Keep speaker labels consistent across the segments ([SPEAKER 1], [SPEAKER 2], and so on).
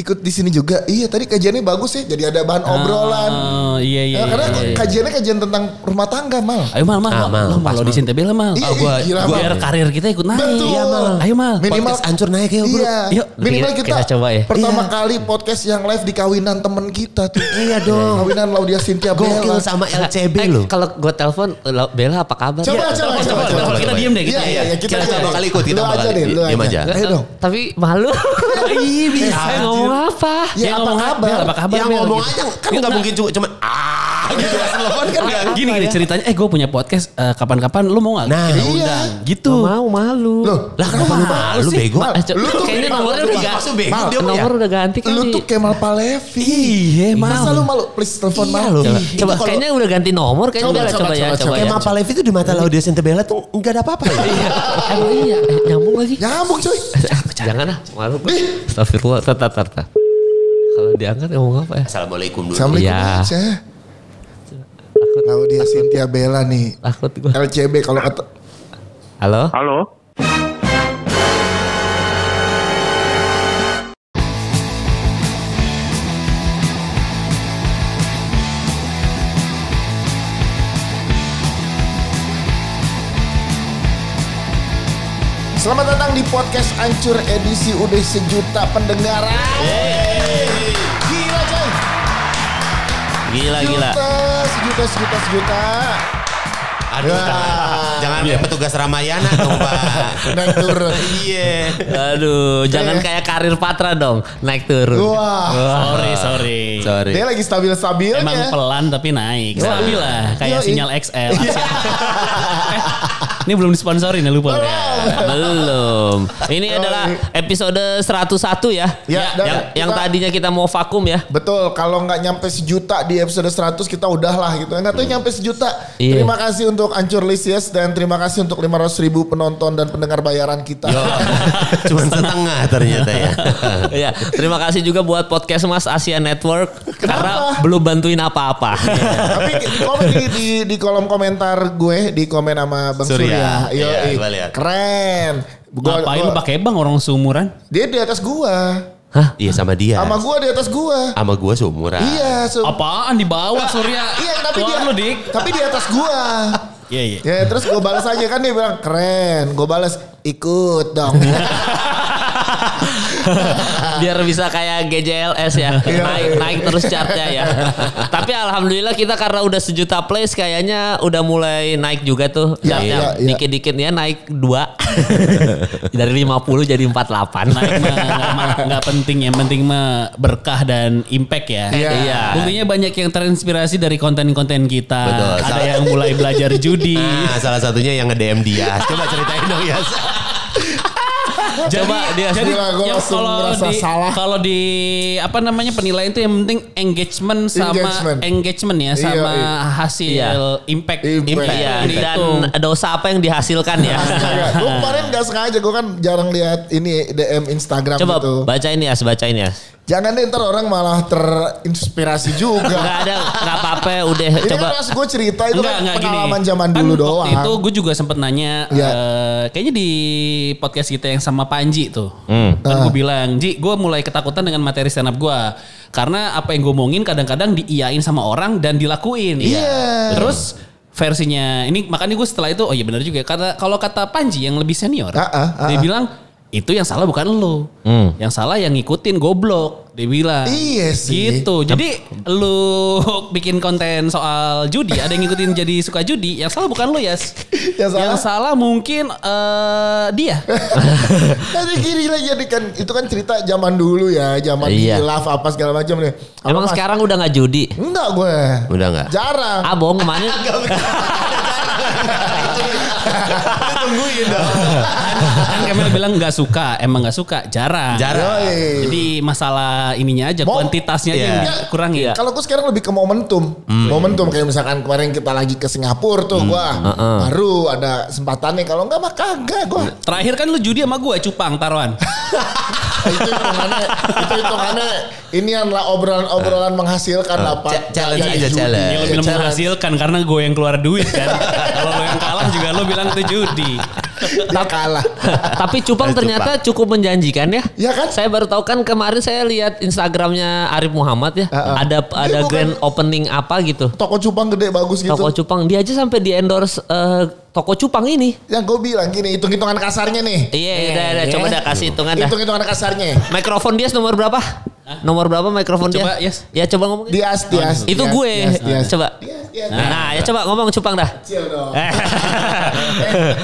[SPEAKER 1] ikut di sini juga. Iya, tadi kajiannya bagus ya. Jadi ada bahan obrolan.
[SPEAKER 2] Oh, iya Ah, iya.
[SPEAKER 1] Ya, karena
[SPEAKER 2] iya, iya.
[SPEAKER 1] kajiannya kajian tentang rumah tangga mal.
[SPEAKER 2] Ayo mal mal,
[SPEAKER 3] Ah, Mal,
[SPEAKER 2] lo mal
[SPEAKER 3] pas,
[SPEAKER 2] lo di Sintebel mal.
[SPEAKER 1] Iya,
[SPEAKER 2] Ah, gua
[SPEAKER 1] iya, Mal.
[SPEAKER 2] biar karir kita ikut naik.
[SPEAKER 1] Betul.
[SPEAKER 2] Iya mal. Ayo mal.
[SPEAKER 1] Min- Minimal-
[SPEAKER 3] Podcast hancur naik ya bro.
[SPEAKER 1] Iya.
[SPEAKER 2] Yuk,
[SPEAKER 1] minimal
[SPEAKER 2] kita-
[SPEAKER 1] kita,
[SPEAKER 2] kita coba ya.
[SPEAKER 1] Pertama kali podcast yang live di kawinan temen kita tuh. iya dong. Kawinan Laudia Cynthia
[SPEAKER 3] Gokil
[SPEAKER 1] Bella.
[SPEAKER 3] sama LCB
[SPEAKER 2] Eh,
[SPEAKER 3] loh.
[SPEAKER 2] Kalau gua telepon "Lo, Bella apa kabar?
[SPEAKER 1] Coba,
[SPEAKER 2] Iya,
[SPEAKER 1] coba,
[SPEAKER 2] telepon,
[SPEAKER 1] coba,
[SPEAKER 2] telepon.
[SPEAKER 1] coba,
[SPEAKER 2] Kita
[SPEAKER 3] coba.
[SPEAKER 2] diem deh kita.
[SPEAKER 1] Iya, iya, iya, kita,
[SPEAKER 3] Kita coba kali ikut, kita
[SPEAKER 1] Lu
[SPEAKER 3] coba
[SPEAKER 1] aja
[SPEAKER 3] kali.
[SPEAKER 1] deh, lu
[SPEAKER 2] Iya,
[SPEAKER 3] Diam
[SPEAKER 1] aja.
[SPEAKER 3] aja.
[SPEAKER 1] Ayo dong.
[SPEAKER 2] Eh, Tapi malu. Iya bisa
[SPEAKER 1] Eh,
[SPEAKER 2] ngomong apa?
[SPEAKER 1] Ya,
[SPEAKER 2] Dia
[SPEAKER 1] apa
[SPEAKER 2] ngomong
[SPEAKER 1] kabar? Iya, Ya,
[SPEAKER 2] Bel, Apa kabar?
[SPEAKER 3] Yang
[SPEAKER 2] Bel?"
[SPEAKER 3] ngomong
[SPEAKER 2] gitu.
[SPEAKER 3] aja kan nggak mungkin cuma cuma ah gitu pas telepon kan nggak.
[SPEAKER 2] Gini
[SPEAKER 1] ya?
[SPEAKER 2] gini ceritanya, eh gue punya podcast eh, kapan-kapan lu mau nggak?
[SPEAKER 3] Nah,
[SPEAKER 2] Kita
[SPEAKER 1] iya.
[SPEAKER 2] undang. gitu.
[SPEAKER 4] Nggak mau malu.
[SPEAKER 1] Loh,
[SPEAKER 3] Lah kenapa lu malu bego?
[SPEAKER 2] Ma- eh, co-
[SPEAKER 1] Lu tuh
[SPEAKER 2] kayaknya
[SPEAKER 1] bego, lu
[SPEAKER 2] nomornya udah
[SPEAKER 1] tuh
[SPEAKER 2] gak
[SPEAKER 3] Maksud bego dia
[SPEAKER 4] Nomor udah ganti kali.
[SPEAKER 1] Lu tuh Kemal Palevi.
[SPEAKER 2] Iya, Mal.
[SPEAKER 1] Masa lu malu? Please telepon
[SPEAKER 3] Iya,
[SPEAKER 1] Mal. Gitu
[SPEAKER 3] lu.
[SPEAKER 1] Ih,
[SPEAKER 3] Itu
[SPEAKER 4] coba
[SPEAKER 3] kalau-
[SPEAKER 4] kayaknya udah ganti nomor kayaknya
[SPEAKER 1] Coba,
[SPEAKER 4] udah lah,
[SPEAKER 1] coba,
[SPEAKER 4] coba, ya
[SPEAKER 1] coba,
[SPEAKER 4] coba,
[SPEAKER 1] coba.
[SPEAKER 3] Kayak
[SPEAKER 4] ya.
[SPEAKER 3] Mapa Levi itu di mata Laudia Sintebella tuh nggak ada apa-apa ya.
[SPEAKER 4] Emang iya, eh, nyambung lagi.
[SPEAKER 1] Nyambung coy.
[SPEAKER 4] Jangan ah, malu. gua. Astagfirullah, tar tar tar, tar. Kalau diangkat ngomong apa ya?
[SPEAKER 3] Assalamualaikum dulu.
[SPEAKER 1] Assalamualaikum
[SPEAKER 4] Iya.
[SPEAKER 1] aja. Laudia Cynthia Bella nih.
[SPEAKER 4] Takut gua.
[SPEAKER 1] LCB kalau kata
[SPEAKER 4] Halo?
[SPEAKER 5] Halo?
[SPEAKER 1] Selamat datang di podcast Ancur edisi udah sejuta pendengaran. Gila coy.
[SPEAKER 3] Gila gila.
[SPEAKER 1] Sejuta, sejuta, sejuta, sejuta. Ya.
[SPEAKER 3] Aduh,
[SPEAKER 1] Wah.
[SPEAKER 3] Kak. Ah, jangan kayak petugas Ramayana dong, Pak.
[SPEAKER 1] Naik turun.
[SPEAKER 3] Nah, Iya.
[SPEAKER 4] Aduh, jangan
[SPEAKER 1] Iya.
[SPEAKER 4] kayak karir Patra dong, naik turun.
[SPEAKER 1] Wah.
[SPEAKER 2] Sorry, sorry.
[SPEAKER 3] Sorry.
[SPEAKER 1] Dia lagi stabil-stabilnya.
[SPEAKER 2] Emang pelan tapi naik. Stabil lah. Kayak
[SPEAKER 1] Yoi.
[SPEAKER 2] sinyal XL.
[SPEAKER 1] Iya.
[SPEAKER 2] Eh, Ini belum disponsori nih lupa.
[SPEAKER 1] Belum.
[SPEAKER 4] Belum. Ini adalah episode 101 ya.
[SPEAKER 1] Ya, dan
[SPEAKER 4] yang,
[SPEAKER 1] kita-
[SPEAKER 4] yang tadinya kita mau vakum ya.
[SPEAKER 1] Betul, kalau nggak nyampe sejuta di episode 100 kita udah lah gitu. Nggak tuh nyampe sejuta.
[SPEAKER 4] Iya.
[SPEAKER 1] Terima kasih untuk Ancur Lisius dan terima kasih untuk 500 ribu penonton dan pendengar bayaran kita.
[SPEAKER 3] Cuman setengah ternyata ya.
[SPEAKER 4] ya, terima kasih juga buat podcast Mas Asia Network karena belum bantuin apa-apa.
[SPEAKER 2] Iya.
[SPEAKER 1] Tapi di komen di, di- di kolom komentar gue di komen sama Bang Surya.
[SPEAKER 3] Surya.
[SPEAKER 1] Yo,
[SPEAKER 3] Iya,
[SPEAKER 1] ih,
[SPEAKER 3] gua lihat.
[SPEAKER 1] keren. Gua,
[SPEAKER 2] Ngapain lu
[SPEAKER 1] gua-
[SPEAKER 2] pakai bang orang seumuran?
[SPEAKER 1] Dia di atas gua.
[SPEAKER 3] Hah? Iya sama dia.
[SPEAKER 1] Sama gua di atas gua.
[SPEAKER 3] Sama gua seumuran.
[SPEAKER 1] Iya, so-
[SPEAKER 2] Apaan di bawah Surya?
[SPEAKER 1] Iya, tapi
[SPEAKER 2] Tuan
[SPEAKER 1] dia
[SPEAKER 2] lu dik.
[SPEAKER 1] tapi di atas gua.
[SPEAKER 2] Iya iya.
[SPEAKER 1] Ya terus gue balas aja kan dia bilang keren. Gue balas ikut dong.
[SPEAKER 4] Biar bisa kayak GJLS ya.
[SPEAKER 1] Iya.
[SPEAKER 4] Naik naik terus chartnya ya. Tapi alhamdulillah kita karena udah sejuta plays kayaknya udah mulai naik juga tuh.
[SPEAKER 1] Iya,
[SPEAKER 4] Chartnya
[SPEAKER 1] iya, iya.
[SPEAKER 4] dikit-dikit ya naik 2. Dari 50 jadi 48.
[SPEAKER 2] Naik mah nggak- mah nggak penting yang penting mah berkah dan impact ya.
[SPEAKER 1] Iya.
[SPEAKER 4] Iya.
[SPEAKER 2] Buktinya banyak yang terinspirasi dari konten-konten kita.
[SPEAKER 3] Betul.
[SPEAKER 2] Ada yang mulai belajar judi.
[SPEAKER 3] Nah, salah satunya yang nge-DM dia. Coba ceritain dong ya.
[SPEAKER 2] jadi,
[SPEAKER 4] Coba dia
[SPEAKER 2] jadi
[SPEAKER 1] Gila, gua
[SPEAKER 2] yang
[SPEAKER 1] langsung
[SPEAKER 2] kalau
[SPEAKER 1] merasa
[SPEAKER 2] di
[SPEAKER 1] salah.
[SPEAKER 2] kalau di apa namanya penilaian itu yang penting engagement sama
[SPEAKER 1] Engagement.
[SPEAKER 2] engagement, ya
[SPEAKER 1] Iya,
[SPEAKER 2] sama
[SPEAKER 1] iya.
[SPEAKER 2] hasil
[SPEAKER 4] Iya.
[SPEAKER 2] impact.
[SPEAKER 1] Impact.
[SPEAKER 2] Impact.
[SPEAKER 4] Iya,
[SPEAKER 2] Jadi
[SPEAKER 4] dan
[SPEAKER 2] itu.
[SPEAKER 4] dosa apa yang dihasilkan ya?
[SPEAKER 1] gue kemarin gak sengaja gue kan jarang lihat ini DM Instagram
[SPEAKER 4] Coba
[SPEAKER 1] gitu.
[SPEAKER 4] bacain ya, bacain ya.
[SPEAKER 1] Jangan deh ntar orang malah terinspirasi
[SPEAKER 4] Enggak
[SPEAKER 1] juga.
[SPEAKER 4] ada, enggak apa-apa udah
[SPEAKER 1] ini
[SPEAKER 4] coba.
[SPEAKER 1] kan harus gue cerita itu
[SPEAKER 2] Enggak,
[SPEAKER 1] kan
[SPEAKER 2] enggak gini.
[SPEAKER 1] pengalaman zaman dulu
[SPEAKER 2] Kan
[SPEAKER 1] doang.
[SPEAKER 2] Waktu itu gue juga sempet nanya,
[SPEAKER 1] Iya.
[SPEAKER 2] eh, kayaknya di podcast kita yang sama Panji tuh. Kan
[SPEAKER 1] Ah.
[SPEAKER 2] gue bilang, Ji gue mulai ketakutan dengan materi stand up gue. Karena apa yang gue omongin kadang-kadang diiyain sama orang dan dilakuin. Ya.
[SPEAKER 1] Iya.
[SPEAKER 2] Terus versinya, ini makanya gue setelah itu, oh iya benar juga. Karena kalau kata Panji yang lebih senior,
[SPEAKER 1] Ah, ah, ah,
[SPEAKER 2] dia
[SPEAKER 1] ah.
[SPEAKER 2] bilang, itu yang salah bukan lo.
[SPEAKER 3] Hmm.
[SPEAKER 2] Yang salah yang ngikutin goblok. Dia bilang.
[SPEAKER 1] Iya sih.
[SPEAKER 2] Gitu. Jadi lu bikin konten soal judi, ada yang ngikutin jadi suka judi, yang salah bukan lu ya.
[SPEAKER 1] Yang salah?
[SPEAKER 2] mungkin eh, dia.
[SPEAKER 1] Jadi gini lagi jadi kan itu kan cerita zaman dulu ya, zaman
[SPEAKER 4] Iya.
[SPEAKER 1] hilaf apa segala macam nih. Apa,
[SPEAKER 4] Emang
[SPEAKER 1] Mas?
[SPEAKER 4] sekarang udah nggak judi?
[SPEAKER 1] Enggak gue.
[SPEAKER 3] Udah nggak?
[SPEAKER 1] Jarang.
[SPEAKER 4] Ah bohong kemarin.
[SPEAKER 3] Tungguin dong.
[SPEAKER 2] kan Kamil bilang nggak suka, emang nggak suka, jarang.
[SPEAKER 3] Jarang.
[SPEAKER 1] Yoi.
[SPEAKER 2] Jadi masalah ininya aja,
[SPEAKER 1] Mau-
[SPEAKER 2] kuantitasnya aja
[SPEAKER 3] Iya.
[SPEAKER 2] yang kurang ya.
[SPEAKER 1] Kalau gue sekarang lebih ke momentum.
[SPEAKER 3] Hmm.
[SPEAKER 1] Momentum kayak misalkan kemarin kita lagi ke Singapura tuh gua. Baru ada sempatannya kalau enggak mah kagak gua.
[SPEAKER 3] Nah.
[SPEAKER 2] Terakhir kan lu judi sama gue, cupang taruhan.
[SPEAKER 1] itu hitungannya itu hitungannya inian lah obrolan-obrolan menghasilkan Iya, lah
[SPEAKER 3] Cha- challenge
[SPEAKER 1] Jadi
[SPEAKER 3] aja,
[SPEAKER 1] judi.
[SPEAKER 3] challenge.
[SPEAKER 2] Ya lu bilang menghasilkan karena gue yang keluar duit kan. Kalau lu yang kalah juga lu bilang itu judi.
[SPEAKER 1] Dia kalah.
[SPEAKER 4] Tapi Cupang
[SPEAKER 3] Dari
[SPEAKER 4] ternyata cukup menjanjikan ya.
[SPEAKER 1] Iya kan?
[SPEAKER 4] Saya baru tahu kan kemarin saya lihat Instagramnya Arif Muhammad ya.
[SPEAKER 1] Heeh.
[SPEAKER 4] Ada ada
[SPEAKER 1] bukan-
[SPEAKER 4] grand opening apa gitu.
[SPEAKER 1] Toko cupang gede bagus gitu.
[SPEAKER 4] Toko Cupang dia aja sampai di endorse eh, toko Cupang ini.
[SPEAKER 1] Yang gue bilang gini, hitung-hitungan kasarnya nih.
[SPEAKER 4] Iya, udah, udah, coba dah kasih hitungan dah.
[SPEAKER 1] Hitung-hitungan kasarnya.
[SPEAKER 4] Mikrofon dia nomor berapa? Nomor berapa mikrofon
[SPEAKER 2] Coba,
[SPEAKER 4] dia?
[SPEAKER 2] yes.
[SPEAKER 4] Ya coba ngomong.
[SPEAKER 1] Dias, dias.
[SPEAKER 4] Oh, gitu. Itu
[SPEAKER 1] dias,
[SPEAKER 4] gue.
[SPEAKER 1] Dias, dias.
[SPEAKER 4] Coba.
[SPEAKER 1] Dias, dias,
[SPEAKER 4] Nah,
[SPEAKER 1] dias.
[SPEAKER 4] ya coba ngomong Cupang dah.
[SPEAKER 2] Hmm.
[SPEAKER 1] Kecil dong.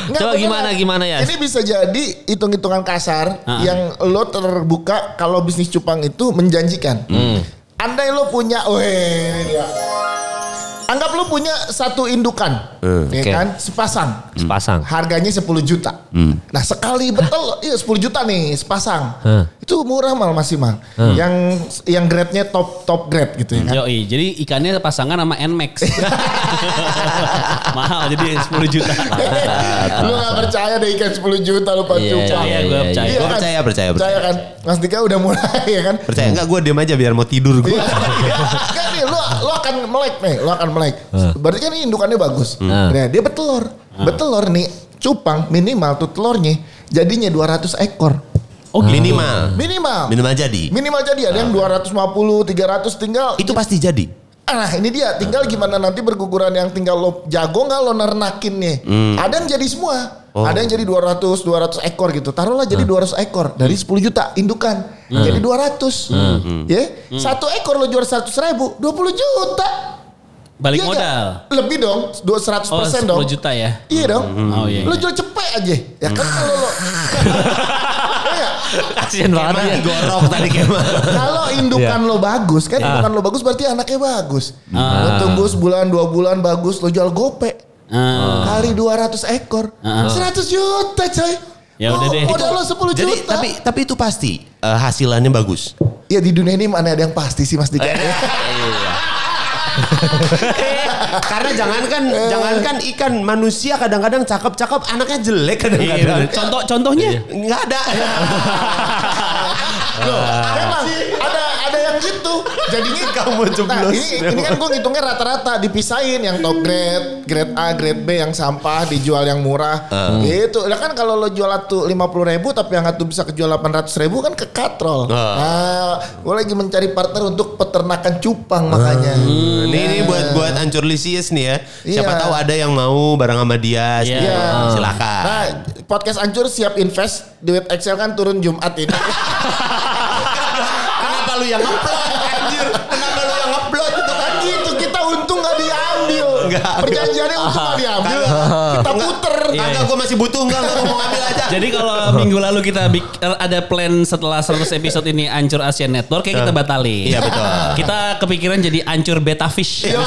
[SPEAKER 1] Nggak,
[SPEAKER 4] coba
[SPEAKER 1] beneran.
[SPEAKER 4] gimana gimana ya?
[SPEAKER 1] Ini bisa jadi hitung-hitungan kasar
[SPEAKER 2] Ah.
[SPEAKER 1] yang lo terbuka kalau bisnis cupang itu menjanjikan.
[SPEAKER 4] Hmm.
[SPEAKER 1] Andai lo punya, weh, ini dia. Anggap lo punya satu indukan, ya
[SPEAKER 4] Hmm, oke.
[SPEAKER 1] kan, sepasang.
[SPEAKER 4] Sepasang.
[SPEAKER 1] Harganya 10 juta. Nah sekali betul, iya 10 juta nih sepasang.
[SPEAKER 4] Hah.
[SPEAKER 1] Itu murah mal masih mal. Yang yang grade-nya top top grade gitu ya kan.
[SPEAKER 2] Yoi, jadi ikannya pasangan sama Nmax. Mahal jadi 10 juta.
[SPEAKER 1] lu gak percaya deh ikan 10 juta lu
[SPEAKER 4] Iya,
[SPEAKER 1] pacu
[SPEAKER 4] iya,
[SPEAKER 2] Percaya
[SPEAKER 4] iya,
[SPEAKER 2] gue
[SPEAKER 4] iya.
[SPEAKER 2] percaya.
[SPEAKER 1] Iya
[SPEAKER 3] Gua
[SPEAKER 1] kan?
[SPEAKER 3] percaya, percaya,
[SPEAKER 1] Percaya kan? Mas Dika udah mulai ya kan?
[SPEAKER 3] Percaya enggak gue diem aja biar mau tidur gue.
[SPEAKER 1] Kan nih, lu, lu akan melek nih, lu akan melek. Berarti kan ini indukannya bagus. Nah, dia betelor. Betelor nih, cupang minimal tuh telurnya jadinya 200 ekor.
[SPEAKER 2] Oh, gitu.
[SPEAKER 3] Minimal.
[SPEAKER 1] Minimal.
[SPEAKER 3] Minimal jadi.
[SPEAKER 2] Iya.
[SPEAKER 1] Minimal jadi
[SPEAKER 2] Ah.
[SPEAKER 1] ada yang 250, 300 tinggal.
[SPEAKER 3] Itu pasti jadi.
[SPEAKER 1] Ah, ini dia tinggal gimana nanti berguguran yang tinggal lo jago nggak lo nernakin nih.
[SPEAKER 2] Hmm.
[SPEAKER 1] Ada yang jadi semua.
[SPEAKER 2] Oh.
[SPEAKER 1] Ada yang jadi 200 200 ekor gitu. Taruhlah jadi
[SPEAKER 2] Hmm.
[SPEAKER 1] 200 ekor dari 10 juta indukan. Jadi 200.
[SPEAKER 2] Hmm.
[SPEAKER 1] Ya. Satu ekor lo jual 100 ribu, 20 juta. Iya
[SPEAKER 2] Balik
[SPEAKER 1] nggak?
[SPEAKER 2] modal.
[SPEAKER 1] Lebih dong, 200%
[SPEAKER 2] Oh, 10
[SPEAKER 1] dong.
[SPEAKER 2] juta ya.
[SPEAKER 1] Iya dong.
[SPEAKER 2] Oh, iya,
[SPEAKER 1] Lo
[SPEAKER 2] iya. Hmm.
[SPEAKER 1] jual cepet aja. Ya kan kalau lo. Iya.
[SPEAKER 4] Kasihan banget
[SPEAKER 3] Emang
[SPEAKER 4] ya.
[SPEAKER 3] digorok tadi Kemal.
[SPEAKER 1] Kalau indukan
[SPEAKER 3] Iya.
[SPEAKER 1] lo bagus kan indukan lo bagus berarti anaknya bagus. Lo tunggu sebulan dua bulan bagus lo jual gope
[SPEAKER 2] Ah.
[SPEAKER 1] kali 200 ekor 100 juta coy.
[SPEAKER 2] Ya
[SPEAKER 1] Lo-
[SPEAKER 2] udah deh.
[SPEAKER 1] Modal lo 10
[SPEAKER 3] Jadi
[SPEAKER 1] juta.
[SPEAKER 3] tapi tapi itu pasti eh, hasilannya bagus.
[SPEAKER 1] ya di dunia ini mana ada yang pasti sih Mas Dika.
[SPEAKER 3] Eh, Karena jangankan jangankan ikan manusia kadang-kadang cakep-cakep anaknya jelek
[SPEAKER 4] Iya.
[SPEAKER 3] kadang-kadang.
[SPEAKER 2] Iya. Contoh contohnya
[SPEAKER 3] Enggak ada.
[SPEAKER 1] Loh,
[SPEAKER 3] ah.
[SPEAKER 1] emang ada ada yang gitu. Jadinya Nah,
[SPEAKER 3] Kamu jeblos.
[SPEAKER 1] ini, ini kan gue ngitungnya rata-rata dipisahin yang top grade, grade A, grade B yang sampah dijual yang murah.
[SPEAKER 3] Uh.
[SPEAKER 1] Gitu. Lah kan kalau lo jual tuh 50 ribu tapi yang satu bisa kejual 800 ribu kan ke
[SPEAKER 3] Uh.
[SPEAKER 1] katrol. Nah, gue lagi mencari partner untuk peternakan cupang makanya.
[SPEAKER 3] Uh.
[SPEAKER 1] Nah,
[SPEAKER 3] Ini ini buat buat ancur lisius nih ya. Siapa
[SPEAKER 1] Iya.
[SPEAKER 3] tahu ada yang mau bareng sama dia.
[SPEAKER 2] Iya.
[SPEAKER 1] Iya.
[SPEAKER 3] Ya, Silakan.
[SPEAKER 1] Nah, podcast ancur siap invest duit Excel kan turun Jumat ini. Nah,
[SPEAKER 3] Kenapa lu yang ngeplot anjir? Kenapa lu yang ngeplot itu kan?
[SPEAKER 1] Tadi itu gitu. kita untung nggak diambil.
[SPEAKER 3] Nggak. Iya.
[SPEAKER 1] Perjanjiannya untung nggak diambil. Kita puter.
[SPEAKER 3] Enggak, gue masih butuh enggak, enggak mau ngambil aja.
[SPEAKER 2] Jadi kalau minggu lalu kita bik- ada plan setelah 100 episode ini ancur Asian Network kayak kita batalin.
[SPEAKER 3] Iya, betul.
[SPEAKER 2] Kita kepikiran jadi ancur beta fish.
[SPEAKER 1] Yoi.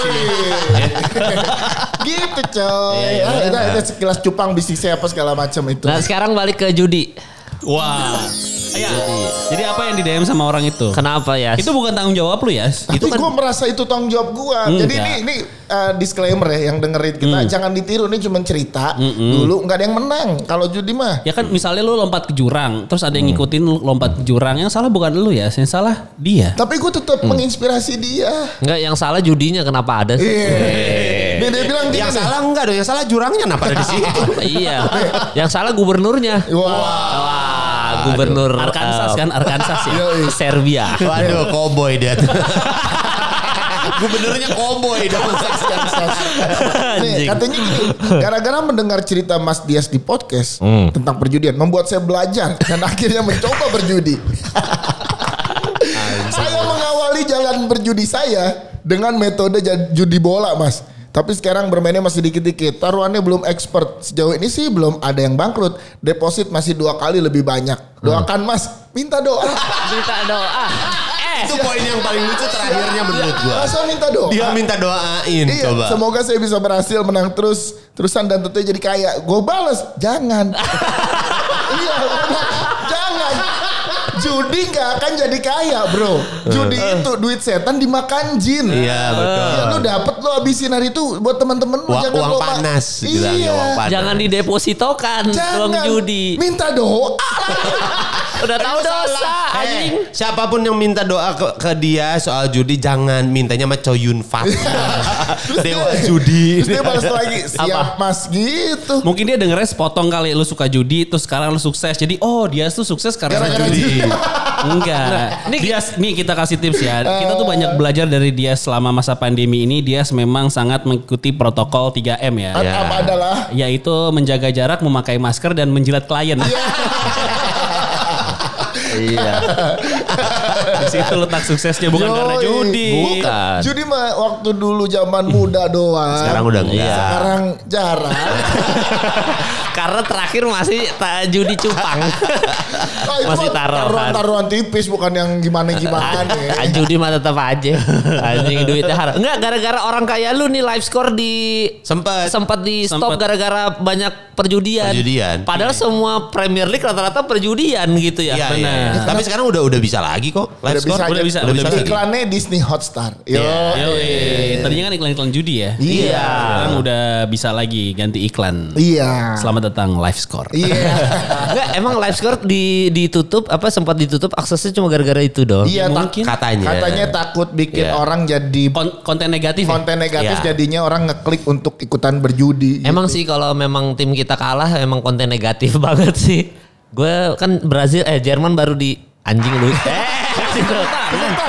[SPEAKER 1] gitu coy.
[SPEAKER 2] iya.
[SPEAKER 1] Ah, itu, itu sekilas cupang bisnisnya apa segala macam itu.
[SPEAKER 4] Nah, sekarang balik ke judi.
[SPEAKER 2] Wah. Iya. Jadi apa yang di DM sama orang itu?
[SPEAKER 4] Kenapa ya?
[SPEAKER 2] Itu bukan tanggung jawab lu ya.
[SPEAKER 1] Tapi gue merasa itu tanggung jawab gue. Jadi ini
[SPEAKER 2] enggak.
[SPEAKER 1] ini eh, disclaimer ya yang dengerin kita jangan ditiru ini cuma cerita. Dulu nggak ada yang menang kalau judi mah.
[SPEAKER 2] Ya kan misalnya lu lompat ke jurang, terus ada
[SPEAKER 1] Hmm.
[SPEAKER 2] yang ngikutin lu lompat ke jurang, yang salah bukan lu ya, yang salah dia.
[SPEAKER 1] Tapi gue tetap menginspirasi dia.
[SPEAKER 4] Enggak yang salah judinya kenapa ada sih?
[SPEAKER 1] Iya. Dia, dia bilang gini
[SPEAKER 3] Yang
[SPEAKER 1] nih.
[SPEAKER 3] salah enggak dong, yang salah jurangnya kenapa ada di situ?
[SPEAKER 4] iya. Yang salah gubernurnya.
[SPEAKER 1] Wah.
[SPEAKER 4] Wah, gubernur eh,
[SPEAKER 2] Arkansas kan, Arkansas ya.
[SPEAKER 1] Yoi.
[SPEAKER 4] Serbia.
[SPEAKER 3] Waduh, koboi dia. tuh. Gubernurnya koboi dong.
[SPEAKER 1] Nih, katanya gini, gara-gara mendengar cerita Mas Dias di podcast tentang perjudian, membuat saya belajar dan akhirnya mencoba berjudi. saya mengawali jalan berjudi saya dengan metode ja- judi bola, Mas. Tapi sekarang bermainnya masih dikit-dikit. Taruhannya belum expert. Sejauh ini sih belum ada yang bangkrut. Deposit masih dua kali lebih banyak. Doakan Mas, minta doa.
[SPEAKER 4] Minta doa. Eh,
[SPEAKER 3] Itu poin yang paling lucu terakhirnya menurut gua.
[SPEAKER 1] Masa minta doa?
[SPEAKER 3] Dia minta doain
[SPEAKER 1] Iya,
[SPEAKER 3] coba.
[SPEAKER 1] semoga saya bisa berhasil menang terus terusan dan tentunya jadi kaya. Gue balas, jangan. iya, gua bilang, jangan. Judi nggak akan jadi kaya bro. Judi itu duit setan dimakan jin.
[SPEAKER 3] Eh. Iya, betul.
[SPEAKER 1] Ya, lu dapet lu habisin hari itu buat teman-teman lu
[SPEAKER 3] Uang-
[SPEAKER 1] jangan
[SPEAKER 3] uang
[SPEAKER 1] lo ma-
[SPEAKER 3] panas, gitu bilangnya
[SPEAKER 1] Iya.
[SPEAKER 3] uang panas.
[SPEAKER 4] Jangan didepositokan uang
[SPEAKER 1] Jangan
[SPEAKER 4] judi.
[SPEAKER 1] Minta doa.
[SPEAKER 4] Udah tahu dosa
[SPEAKER 3] Eh,
[SPEAKER 4] anjing.
[SPEAKER 3] siapapun yang minta doa ke, ke dia soal judi jangan mintanya sama Choyun Fat. Dewa judi.
[SPEAKER 1] Terus dia balas lagi siap mas gitu.
[SPEAKER 2] Mungkin dia dengernya sepotong kali lu suka judi terus sekarang lu sukses. Jadi oh dia tuh sukses karena
[SPEAKER 1] Gara-gara Nah,
[SPEAKER 2] judi.
[SPEAKER 1] judi.
[SPEAKER 2] Enggak.
[SPEAKER 4] ini-
[SPEAKER 2] Dias, nih kita kasih tips ya. Kita tuh
[SPEAKER 1] Eh.
[SPEAKER 2] banyak belajar dari dia selama masa pandemi ini. Dia memang sangat mengikuti protokol 3M ya.
[SPEAKER 1] Apa- Apa adalah
[SPEAKER 2] Yaitu menjaga jarak, memakai masker dan menjilat klien.
[SPEAKER 4] Iya.
[SPEAKER 2] Di situ letak suksesnya Eh, bukan
[SPEAKER 1] Yoi.
[SPEAKER 2] karena judi.
[SPEAKER 4] Bukan.
[SPEAKER 1] Judi mah waktu dulu zaman muda doang.
[SPEAKER 3] Sekarang udah enggak.
[SPEAKER 1] Sekarang jarang.
[SPEAKER 4] Karena terakhir masih ta- judi cupang.
[SPEAKER 1] Ah, itu
[SPEAKER 4] masih
[SPEAKER 1] mah
[SPEAKER 4] kan. taruhan.
[SPEAKER 1] Taruhan-taruhan tipis bukan yang gimana-gimana.
[SPEAKER 4] Ah, Judi mah tetap aja. Anjing duitnya haram. Enggak gara-gara orang kaya lu nih live score di
[SPEAKER 3] Sempet.
[SPEAKER 4] sempat di stop
[SPEAKER 2] Sempet.
[SPEAKER 4] gara-gara banyak perjudian.
[SPEAKER 3] Perjudian.
[SPEAKER 4] Padahal semua Premier League rata-rata perjudian gitu ya.
[SPEAKER 3] Iya, iya,
[SPEAKER 2] benar.
[SPEAKER 3] iya. Tapi sekarang udah udah bisa lagi kok.
[SPEAKER 1] Udah
[SPEAKER 3] Live score.
[SPEAKER 1] bisa,
[SPEAKER 2] udah
[SPEAKER 1] aja.
[SPEAKER 2] bisa, iya.
[SPEAKER 3] udah bisa lagi.
[SPEAKER 1] Iklannya Disney Hotstar. Yo.
[SPEAKER 2] Yoi. Tadinya kan iklan-iklan judi ya.
[SPEAKER 1] Iya.
[SPEAKER 2] Sekarang udah bisa lagi ganti iklan.
[SPEAKER 1] Iya.
[SPEAKER 2] Selamat datang live score.
[SPEAKER 1] Iya.
[SPEAKER 4] Enggak, emang live score di ditutup apa sempat ditutup aksesnya cuma gara-gara itu dong.
[SPEAKER 1] Iya, tak-
[SPEAKER 2] mungkin. Oh,
[SPEAKER 3] Katanya.
[SPEAKER 1] katanya takut bikin
[SPEAKER 3] Iya.
[SPEAKER 1] orang jadi
[SPEAKER 2] Kon- konten negatif. ya?
[SPEAKER 1] konten negatif
[SPEAKER 3] Iya.
[SPEAKER 1] jadinya orang ngeklik untuk ikutan berjudi.
[SPEAKER 4] Emang sih kalau memang tim kita kalah emang konten negatif banget sih. Gue kan Brazil eh Jerman baru di anjing
[SPEAKER 3] Eh,
[SPEAKER 4] lu.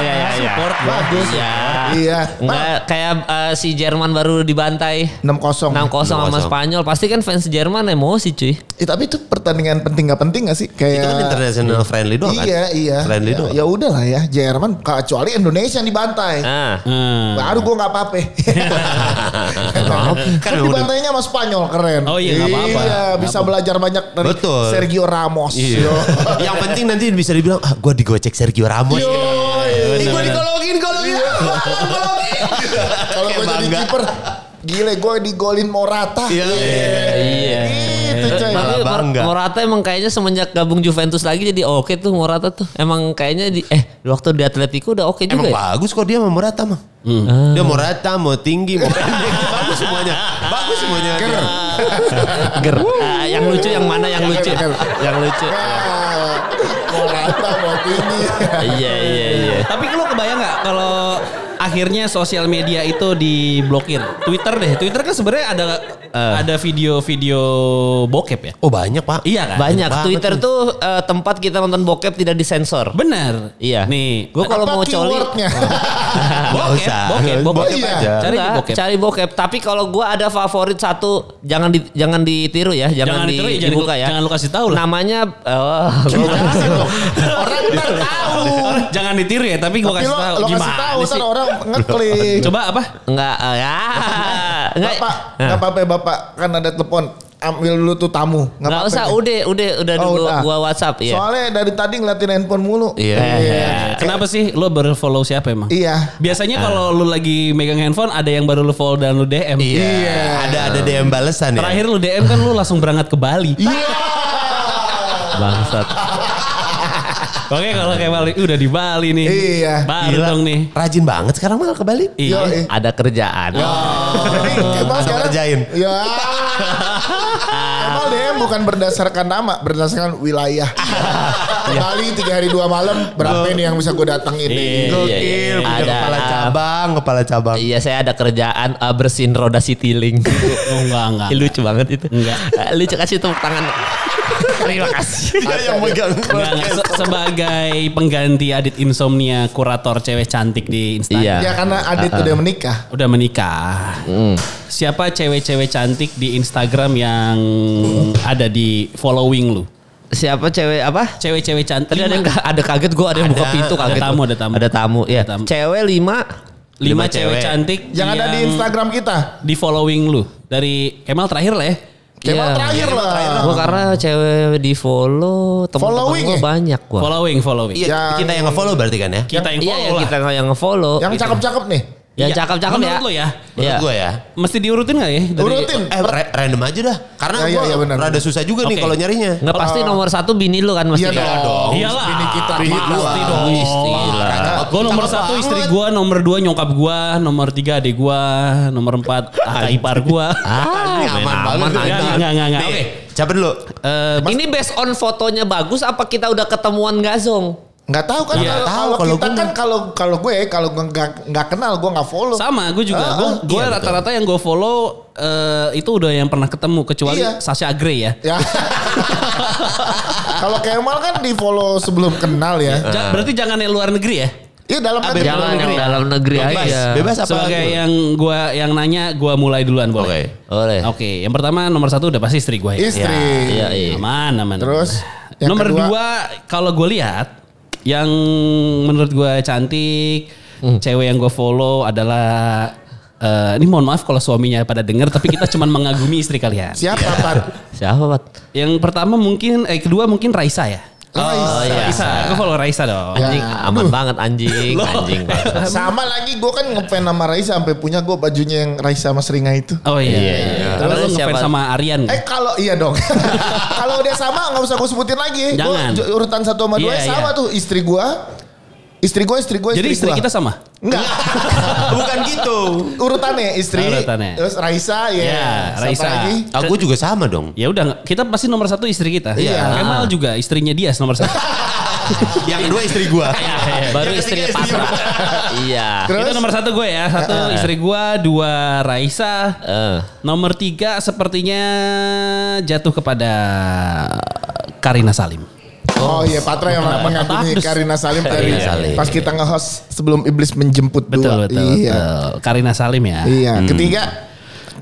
[SPEAKER 4] Iya iya iya.
[SPEAKER 2] Support.
[SPEAKER 1] bagus.
[SPEAKER 4] Iya.
[SPEAKER 1] Iya.
[SPEAKER 4] Enggak kayak eh, si Jerman baru dibantai
[SPEAKER 1] 6-0.
[SPEAKER 4] 6-0 sama
[SPEAKER 3] 6-0.
[SPEAKER 4] Spanyol. Pasti kan fans Jerman emosi cuy.
[SPEAKER 1] Eh, tapi itu pertandingan penting gak penting gak sih? Kayak
[SPEAKER 3] Itu kan international friendly doang
[SPEAKER 1] ya.
[SPEAKER 3] kan?
[SPEAKER 1] Iya, iya.
[SPEAKER 3] Friendly
[SPEAKER 1] Ya-
[SPEAKER 3] doang.
[SPEAKER 1] Ya udahlah ya, Jerman kecuali Indonesia yang dibantai.
[SPEAKER 4] Nah.
[SPEAKER 2] Hmm.
[SPEAKER 1] Baru gue gak apa-apa. kan
[SPEAKER 3] udah-
[SPEAKER 1] dibantainya sama Spanyol keren.
[SPEAKER 2] Oh iya, nggak apa-apa. Iya.
[SPEAKER 1] Iya, bisa belajar banyak dari
[SPEAKER 3] Betul.
[SPEAKER 1] Sergio Ramos. Yo.
[SPEAKER 3] yang penting nanti bisa dibilang ah, gue digocek Sergio Ramos. Ini gue dikolongin kolongin.
[SPEAKER 1] Kalau gue jadi kiper, gile gue digolin Morata.
[SPEAKER 3] Iya.
[SPEAKER 4] Iya.
[SPEAKER 1] Itu coy.
[SPEAKER 4] Tapi
[SPEAKER 2] Iya.
[SPEAKER 3] Malah
[SPEAKER 4] Mor-
[SPEAKER 3] bangga.
[SPEAKER 4] Morata emang kayaknya semenjak gabung Juventus lagi jadi oke tuh Morata tuh. Emang kayaknya di eh waktu di Atletico udah oke juga
[SPEAKER 3] Emang
[SPEAKER 4] ya.
[SPEAKER 3] bagus kok dia sama Morata mah. Dia mau rata, mau tinggi, mau pendek, bagus semuanya. Bagus semuanya.
[SPEAKER 4] Ger. Ah, yang lucu yang mana yang lucu? yang lucu.
[SPEAKER 1] Ah, Morata mau ini.
[SPEAKER 4] Iya iya iya.
[SPEAKER 2] Tapi lu kebayang nggak kalau akhirnya sosial media itu diblokir? Twitter deh. Twitter kan sebenarnya ada ada video-video bokep ya.
[SPEAKER 3] Oh banyak pak.
[SPEAKER 2] Iya kan?
[SPEAKER 4] Banyak
[SPEAKER 3] Banget
[SPEAKER 4] Twitter tuh eh, tempat kita nonton bokep tidak disensor.
[SPEAKER 2] Benar.
[SPEAKER 4] Iya.
[SPEAKER 2] Nih,
[SPEAKER 4] Gue kalau
[SPEAKER 1] Apa
[SPEAKER 4] mau coli
[SPEAKER 1] keywordnya?
[SPEAKER 3] Nggak
[SPEAKER 2] bokep,
[SPEAKER 3] usah.
[SPEAKER 2] bokep, bokep,
[SPEAKER 1] Iya.
[SPEAKER 2] aja. Cari di
[SPEAKER 4] Enggak,
[SPEAKER 2] bokep.
[SPEAKER 4] cari bokep. Tapi kalau gua ada favorit satu, jangan di, jangan ditiru ya, jangan,
[SPEAKER 2] Jangan
[SPEAKER 4] di,
[SPEAKER 2] ditiru ya, jangan
[SPEAKER 4] dibuka
[SPEAKER 2] lu-
[SPEAKER 4] ya.
[SPEAKER 2] jangan lu kasih tahu lah.
[SPEAKER 4] Namanya oh, gua-
[SPEAKER 1] Orang ntar tahu.
[SPEAKER 2] Orang Jangan ditiru ya, tapi gue
[SPEAKER 1] Tapi
[SPEAKER 2] Iya. kasih
[SPEAKER 1] lo,
[SPEAKER 2] tahu
[SPEAKER 1] lo kasih
[SPEAKER 2] gimana
[SPEAKER 1] tahu
[SPEAKER 2] sih?
[SPEAKER 1] ntar orang ngeklik.
[SPEAKER 2] Coba apa?
[SPEAKER 4] enggak eh, ya. Enggak.
[SPEAKER 1] Bapak, nggak apa-apa ya, bapak, kan ada telepon. Ambil dulu tuh tamu. Nggak
[SPEAKER 4] Enggak
[SPEAKER 1] apa-apa
[SPEAKER 4] usah,
[SPEAKER 1] ya.
[SPEAKER 4] udah, udah, udah
[SPEAKER 1] Oh,
[SPEAKER 4] dulu
[SPEAKER 1] udah.
[SPEAKER 4] gua WhatsApp ya.
[SPEAKER 1] Soalnya dari tadi ngeliatin handphone mulu.
[SPEAKER 3] Iya.
[SPEAKER 2] Kenapa sih lo berfollow siapa emang?
[SPEAKER 1] Iya.
[SPEAKER 2] Biasanya kalau lu lagi megang handphone ada yang baru lu follow dan lu DM.
[SPEAKER 3] Iya. Ada ada DM balasan ya.
[SPEAKER 2] Terakhir lu DM kan lu langsung berangkat ke Bali.
[SPEAKER 1] Iya.
[SPEAKER 4] Iya. Bangsat.
[SPEAKER 2] Oke kalau kayak Bali udah di Bali nih.
[SPEAKER 1] Iya.
[SPEAKER 2] Baru
[SPEAKER 3] Gila,
[SPEAKER 2] dong nih.
[SPEAKER 3] Rajin banget sekarang malah ke Bali.
[SPEAKER 2] Iya.
[SPEAKER 1] Yoi.
[SPEAKER 4] Ada kerjaan.
[SPEAKER 1] Jadi
[SPEAKER 4] Oh.
[SPEAKER 1] Kemal
[SPEAKER 3] Sama
[SPEAKER 1] sekarang-
[SPEAKER 3] kerjain.
[SPEAKER 1] Ya. Kemal DM bukan berdasarkan nama, berdasarkan wilayah. Bali tiga hari dua malam berapa nih yang bisa gue datengin?
[SPEAKER 4] Iya, iya, iya.
[SPEAKER 3] Gokil, punya
[SPEAKER 4] Ada-
[SPEAKER 3] kepala cabang, kepala cabang.
[SPEAKER 4] Iya, saya ada kerjaan eh, bersihin roda Citilink.
[SPEAKER 2] Oh, enggak enggak.
[SPEAKER 4] Ih, lucu banget itu.
[SPEAKER 2] Enggak.
[SPEAKER 4] Eh, lucu kasih tepuk tangan. Terima kasih.
[SPEAKER 3] Dia yang megang.
[SPEAKER 2] Enggak, enggak. Se- sebagai pengganti Adit Insomnia kurator cewek cantik
[SPEAKER 4] Iya.
[SPEAKER 2] di Instagram.
[SPEAKER 1] Ya karena Adit udah menikah.
[SPEAKER 2] Udah menikah.
[SPEAKER 4] Mm.
[SPEAKER 2] Siapa cewek-cewek cantik di Instagram yang
[SPEAKER 4] Mm.
[SPEAKER 2] ada di following lu?
[SPEAKER 4] Siapa cewek apa?
[SPEAKER 2] Cewek-cewek cantik.
[SPEAKER 4] Tadi ada yang ka- ada kaget gue ada yang buka pintu
[SPEAKER 2] ada
[SPEAKER 4] kaget.
[SPEAKER 2] tamu,
[SPEAKER 4] gua.
[SPEAKER 2] ada tamu.
[SPEAKER 4] Ada tamu ya.
[SPEAKER 2] Ada tamu.
[SPEAKER 4] Cewek lima.
[SPEAKER 2] lima
[SPEAKER 3] lima
[SPEAKER 2] cewek
[SPEAKER 3] cewek.
[SPEAKER 2] cantik
[SPEAKER 1] Yang ada
[SPEAKER 4] Iya.
[SPEAKER 1] di Instagram kita.
[SPEAKER 2] di following lu dari Kemal terakhir lah ya.
[SPEAKER 1] Kemal
[SPEAKER 4] Iya.
[SPEAKER 1] terakhir lah.
[SPEAKER 4] Gue karena cewek di follow teman-teman
[SPEAKER 1] Following
[SPEAKER 4] gue
[SPEAKER 1] ya?
[SPEAKER 4] banyak gue.
[SPEAKER 2] Following, following.
[SPEAKER 3] Iya,
[SPEAKER 1] Yang-
[SPEAKER 3] kita yang nge-follow berarti kan ya?
[SPEAKER 2] Kita
[SPEAKER 4] Iya
[SPEAKER 2] yang follow
[SPEAKER 4] yang
[SPEAKER 2] lah.
[SPEAKER 4] kita yang ngefollow.
[SPEAKER 1] Yang
[SPEAKER 4] gitu.
[SPEAKER 1] cakep-cakep nih.
[SPEAKER 4] Yang
[SPEAKER 2] Iya.
[SPEAKER 4] cakep-cakep ya.
[SPEAKER 2] Menurut lo ya?
[SPEAKER 4] Iya.
[SPEAKER 3] Menurut gue ya.
[SPEAKER 2] Mesti diurutin gak ya? Dari-
[SPEAKER 1] Urutin.
[SPEAKER 3] Eh ra- random aja dah. Karena
[SPEAKER 1] Ya, ya,
[SPEAKER 3] gue
[SPEAKER 1] ya, benar,
[SPEAKER 3] rada
[SPEAKER 1] benar.
[SPEAKER 3] susah juga nih
[SPEAKER 2] Oke.
[SPEAKER 3] kalau nyarinya.
[SPEAKER 4] Nggak pasti nomor satu bini lu kan mesti.
[SPEAKER 1] Iya dong.
[SPEAKER 2] Iyalah.
[SPEAKER 1] Bini kita.
[SPEAKER 2] Bini
[SPEAKER 1] Pasti
[SPEAKER 2] gua.
[SPEAKER 1] dong.
[SPEAKER 2] Gue nomor satu istri gue, nomor dua nyokap gue, nomor tiga adik gue, nomor empat kakak ipar gue.
[SPEAKER 4] Ah, aman,
[SPEAKER 3] Aman banget. gitu.
[SPEAKER 2] Enggak,
[SPEAKER 3] anjing.
[SPEAKER 2] enggak, enggak, enggak.
[SPEAKER 3] Nih,
[SPEAKER 2] Oke.
[SPEAKER 3] Siapa dulu?
[SPEAKER 4] Eh, ini based on fotonya bagus apa kita udah ketemuan gak zong?
[SPEAKER 1] Nggak tahu kan
[SPEAKER 2] Nggak
[SPEAKER 1] kalau-
[SPEAKER 3] tahu,
[SPEAKER 1] kalau
[SPEAKER 3] kalau
[SPEAKER 1] kita
[SPEAKER 3] gua
[SPEAKER 1] kan kalau kalau gue kalau gue nggak nggak kenal gue nggak follow.
[SPEAKER 2] Sama, gue juga.
[SPEAKER 1] Ah,
[SPEAKER 2] Gue
[SPEAKER 1] ah,
[SPEAKER 2] gue rata-rata yang gue follow eh, itu udah yang pernah ketemu kecuali
[SPEAKER 1] Iya.
[SPEAKER 2] Sasha Grey ya.
[SPEAKER 1] Ya. kalau Kemal kan di follow sebelum kenal
[SPEAKER 4] Ah.
[SPEAKER 1] ya.
[SPEAKER 2] Ja- berarti jangan yang luar negeri ya.
[SPEAKER 1] Iya dalam negeri.
[SPEAKER 4] Jangan yang
[SPEAKER 1] Dalam negeri.
[SPEAKER 4] dalam negeri
[SPEAKER 3] Bebas.
[SPEAKER 4] aja.
[SPEAKER 3] Bebas apa?
[SPEAKER 2] Sebagai yang gue yang nanya, gue mulai duluan boleh.
[SPEAKER 3] Oke. Ah,
[SPEAKER 4] Boleh.
[SPEAKER 2] Oke, yang pertama nomor satu udah pasti istri gue.
[SPEAKER 1] Istri.
[SPEAKER 4] Eh. Iya, iya.
[SPEAKER 2] Aman, aman.
[SPEAKER 1] Terus,
[SPEAKER 2] aman.
[SPEAKER 1] yang
[SPEAKER 2] nomor
[SPEAKER 1] kedua-
[SPEAKER 2] dua, kalau gue lihat yang menurut gue cantik,
[SPEAKER 4] Hmm.
[SPEAKER 2] cewek yang gue follow adalah eh, ini mohon maaf kalau suaminya pada denger, tapi kita cuman mengagumi istri kalian.
[SPEAKER 1] Siapa Pan?
[SPEAKER 4] Siapa, Pat?
[SPEAKER 2] Yang pertama mungkin, eh kedua mungkin Raisa ya.
[SPEAKER 1] Raisa.
[SPEAKER 4] iya.
[SPEAKER 2] Raisa, gue follow Raisa dong.
[SPEAKER 1] Ya,
[SPEAKER 4] Anjing, aman banget anjing, anjing.
[SPEAKER 1] Sama lagi gue kan ngefans sama Raisa sampai punya gue bajunya yang Raisa sama Seringa itu.
[SPEAKER 2] Oh iya.
[SPEAKER 4] Iya, iya.
[SPEAKER 2] Terus lu
[SPEAKER 4] Terus siapa?
[SPEAKER 2] ngefans sama Aryan.
[SPEAKER 1] Eh kalau iya dong. kalau udah sama nggak usah gue sebutin lagi. Gua
[SPEAKER 2] Jangan.
[SPEAKER 1] ju- urutan satu sama dua
[SPEAKER 2] Iya,
[SPEAKER 1] sama
[SPEAKER 2] iya.
[SPEAKER 1] tuh istri gue. Istri gue, istri gue,
[SPEAKER 2] Jadi istri
[SPEAKER 1] gua.
[SPEAKER 2] kita sama.
[SPEAKER 1] Enggak.
[SPEAKER 3] Bukan gitu.
[SPEAKER 1] urutannya istri.
[SPEAKER 2] Urutannya.
[SPEAKER 1] Terus Raisa ya.
[SPEAKER 2] Iya,
[SPEAKER 1] Siapa
[SPEAKER 2] Raisa.
[SPEAKER 1] lagi?
[SPEAKER 3] Aku Ah, juga sama dong.
[SPEAKER 2] Ya udah kita pasti nomor satu istri kita.
[SPEAKER 1] Iya.
[SPEAKER 2] Kemal juga istrinya dia nomor satu.
[SPEAKER 3] Yang dua istri gua.
[SPEAKER 4] Iya.
[SPEAKER 2] Iya,
[SPEAKER 4] Baru
[SPEAKER 3] Yang
[SPEAKER 4] istrinya
[SPEAKER 3] ketiga istri
[SPEAKER 4] pasrah.
[SPEAKER 3] gua.
[SPEAKER 4] Iya.
[SPEAKER 1] Terus
[SPEAKER 2] Itu nomor satu gue ya. Satu istri gue, dua Raisa.
[SPEAKER 4] Eh.
[SPEAKER 2] Nomor tiga sepertinya jatuh kepada Karina Salim.
[SPEAKER 1] Oh iya Patra yang mengagumi
[SPEAKER 2] Patah.
[SPEAKER 1] Karina Salim tadi.
[SPEAKER 4] Karina Salim.
[SPEAKER 1] Pas kita nge-host sebelum iblis menjemput dua.
[SPEAKER 2] Betul betul.
[SPEAKER 1] iya.
[SPEAKER 2] betul. Karina Salim ya.
[SPEAKER 1] Iya, ketiga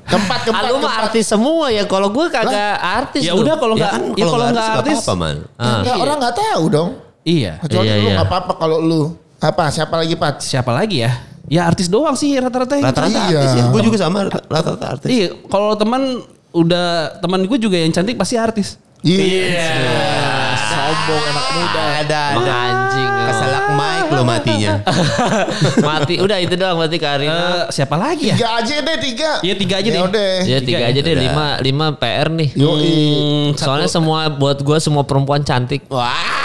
[SPEAKER 1] keempat keempat.
[SPEAKER 4] Ah, Lu mah
[SPEAKER 1] keempat.
[SPEAKER 4] artis semua ya. Kalau gue kagak artis.
[SPEAKER 2] Ya
[SPEAKER 4] lu.
[SPEAKER 2] udah kalau
[SPEAKER 3] Ya
[SPEAKER 2] nggak
[SPEAKER 3] kan
[SPEAKER 2] ya
[SPEAKER 3] kalau
[SPEAKER 2] kalau
[SPEAKER 3] nggak
[SPEAKER 2] nggak
[SPEAKER 3] artis
[SPEAKER 2] artis
[SPEAKER 3] nggak apa-apa man.
[SPEAKER 1] Ya, enggak, orang nggak tahu dong.
[SPEAKER 2] Ah. Iya.
[SPEAKER 1] Kecuali
[SPEAKER 4] Iya,
[SPEAKER 1] lu
[SPEAKER 4] iya.
[SPEAKER 1] nggak apa-apa kalau lu apa siapa lagi Pat?
[SPEAKER 2] Siapa lagi ya? Ya artis doang sih rata-rata yang
[SPEAKER 3] Rata-rata
[SPEAKER 1] Iya.
[SPEAKER 3] artis ya. Gue juga sama rata-rata artis.
[SPEAKER 2] Iya, kalau teman udah teman gue juga yang cantik pasti artis.
[SPEAKER 1] Iya.
[SPEAKER 3] Sombong anak muda. Ah, Ada ada.
[SPEAKER 4] anjing. lu.
[SPEAKER 3] Keselak mic lo matinya.
[SPEAKER 4] Mati. Udah itu doang berarti Karina.
[SPEAKER 2] Eh, siapa lagi ya?
[SPEAKER 1] Iya. Tiga aja deh tiga.
[SPEAKER 2] Iya, tiga aja deh.
[SPEAKER 1] Ya udah.
[SPEAKER 4] Ya tiga aja deh, lima, lima PR nih.
[SPEAKER 1] Yoi.
[SPEAKER 4] Hmm, Soalnya semua buat gue semua perempuan cantik.
[SPEAKER 3] Wah.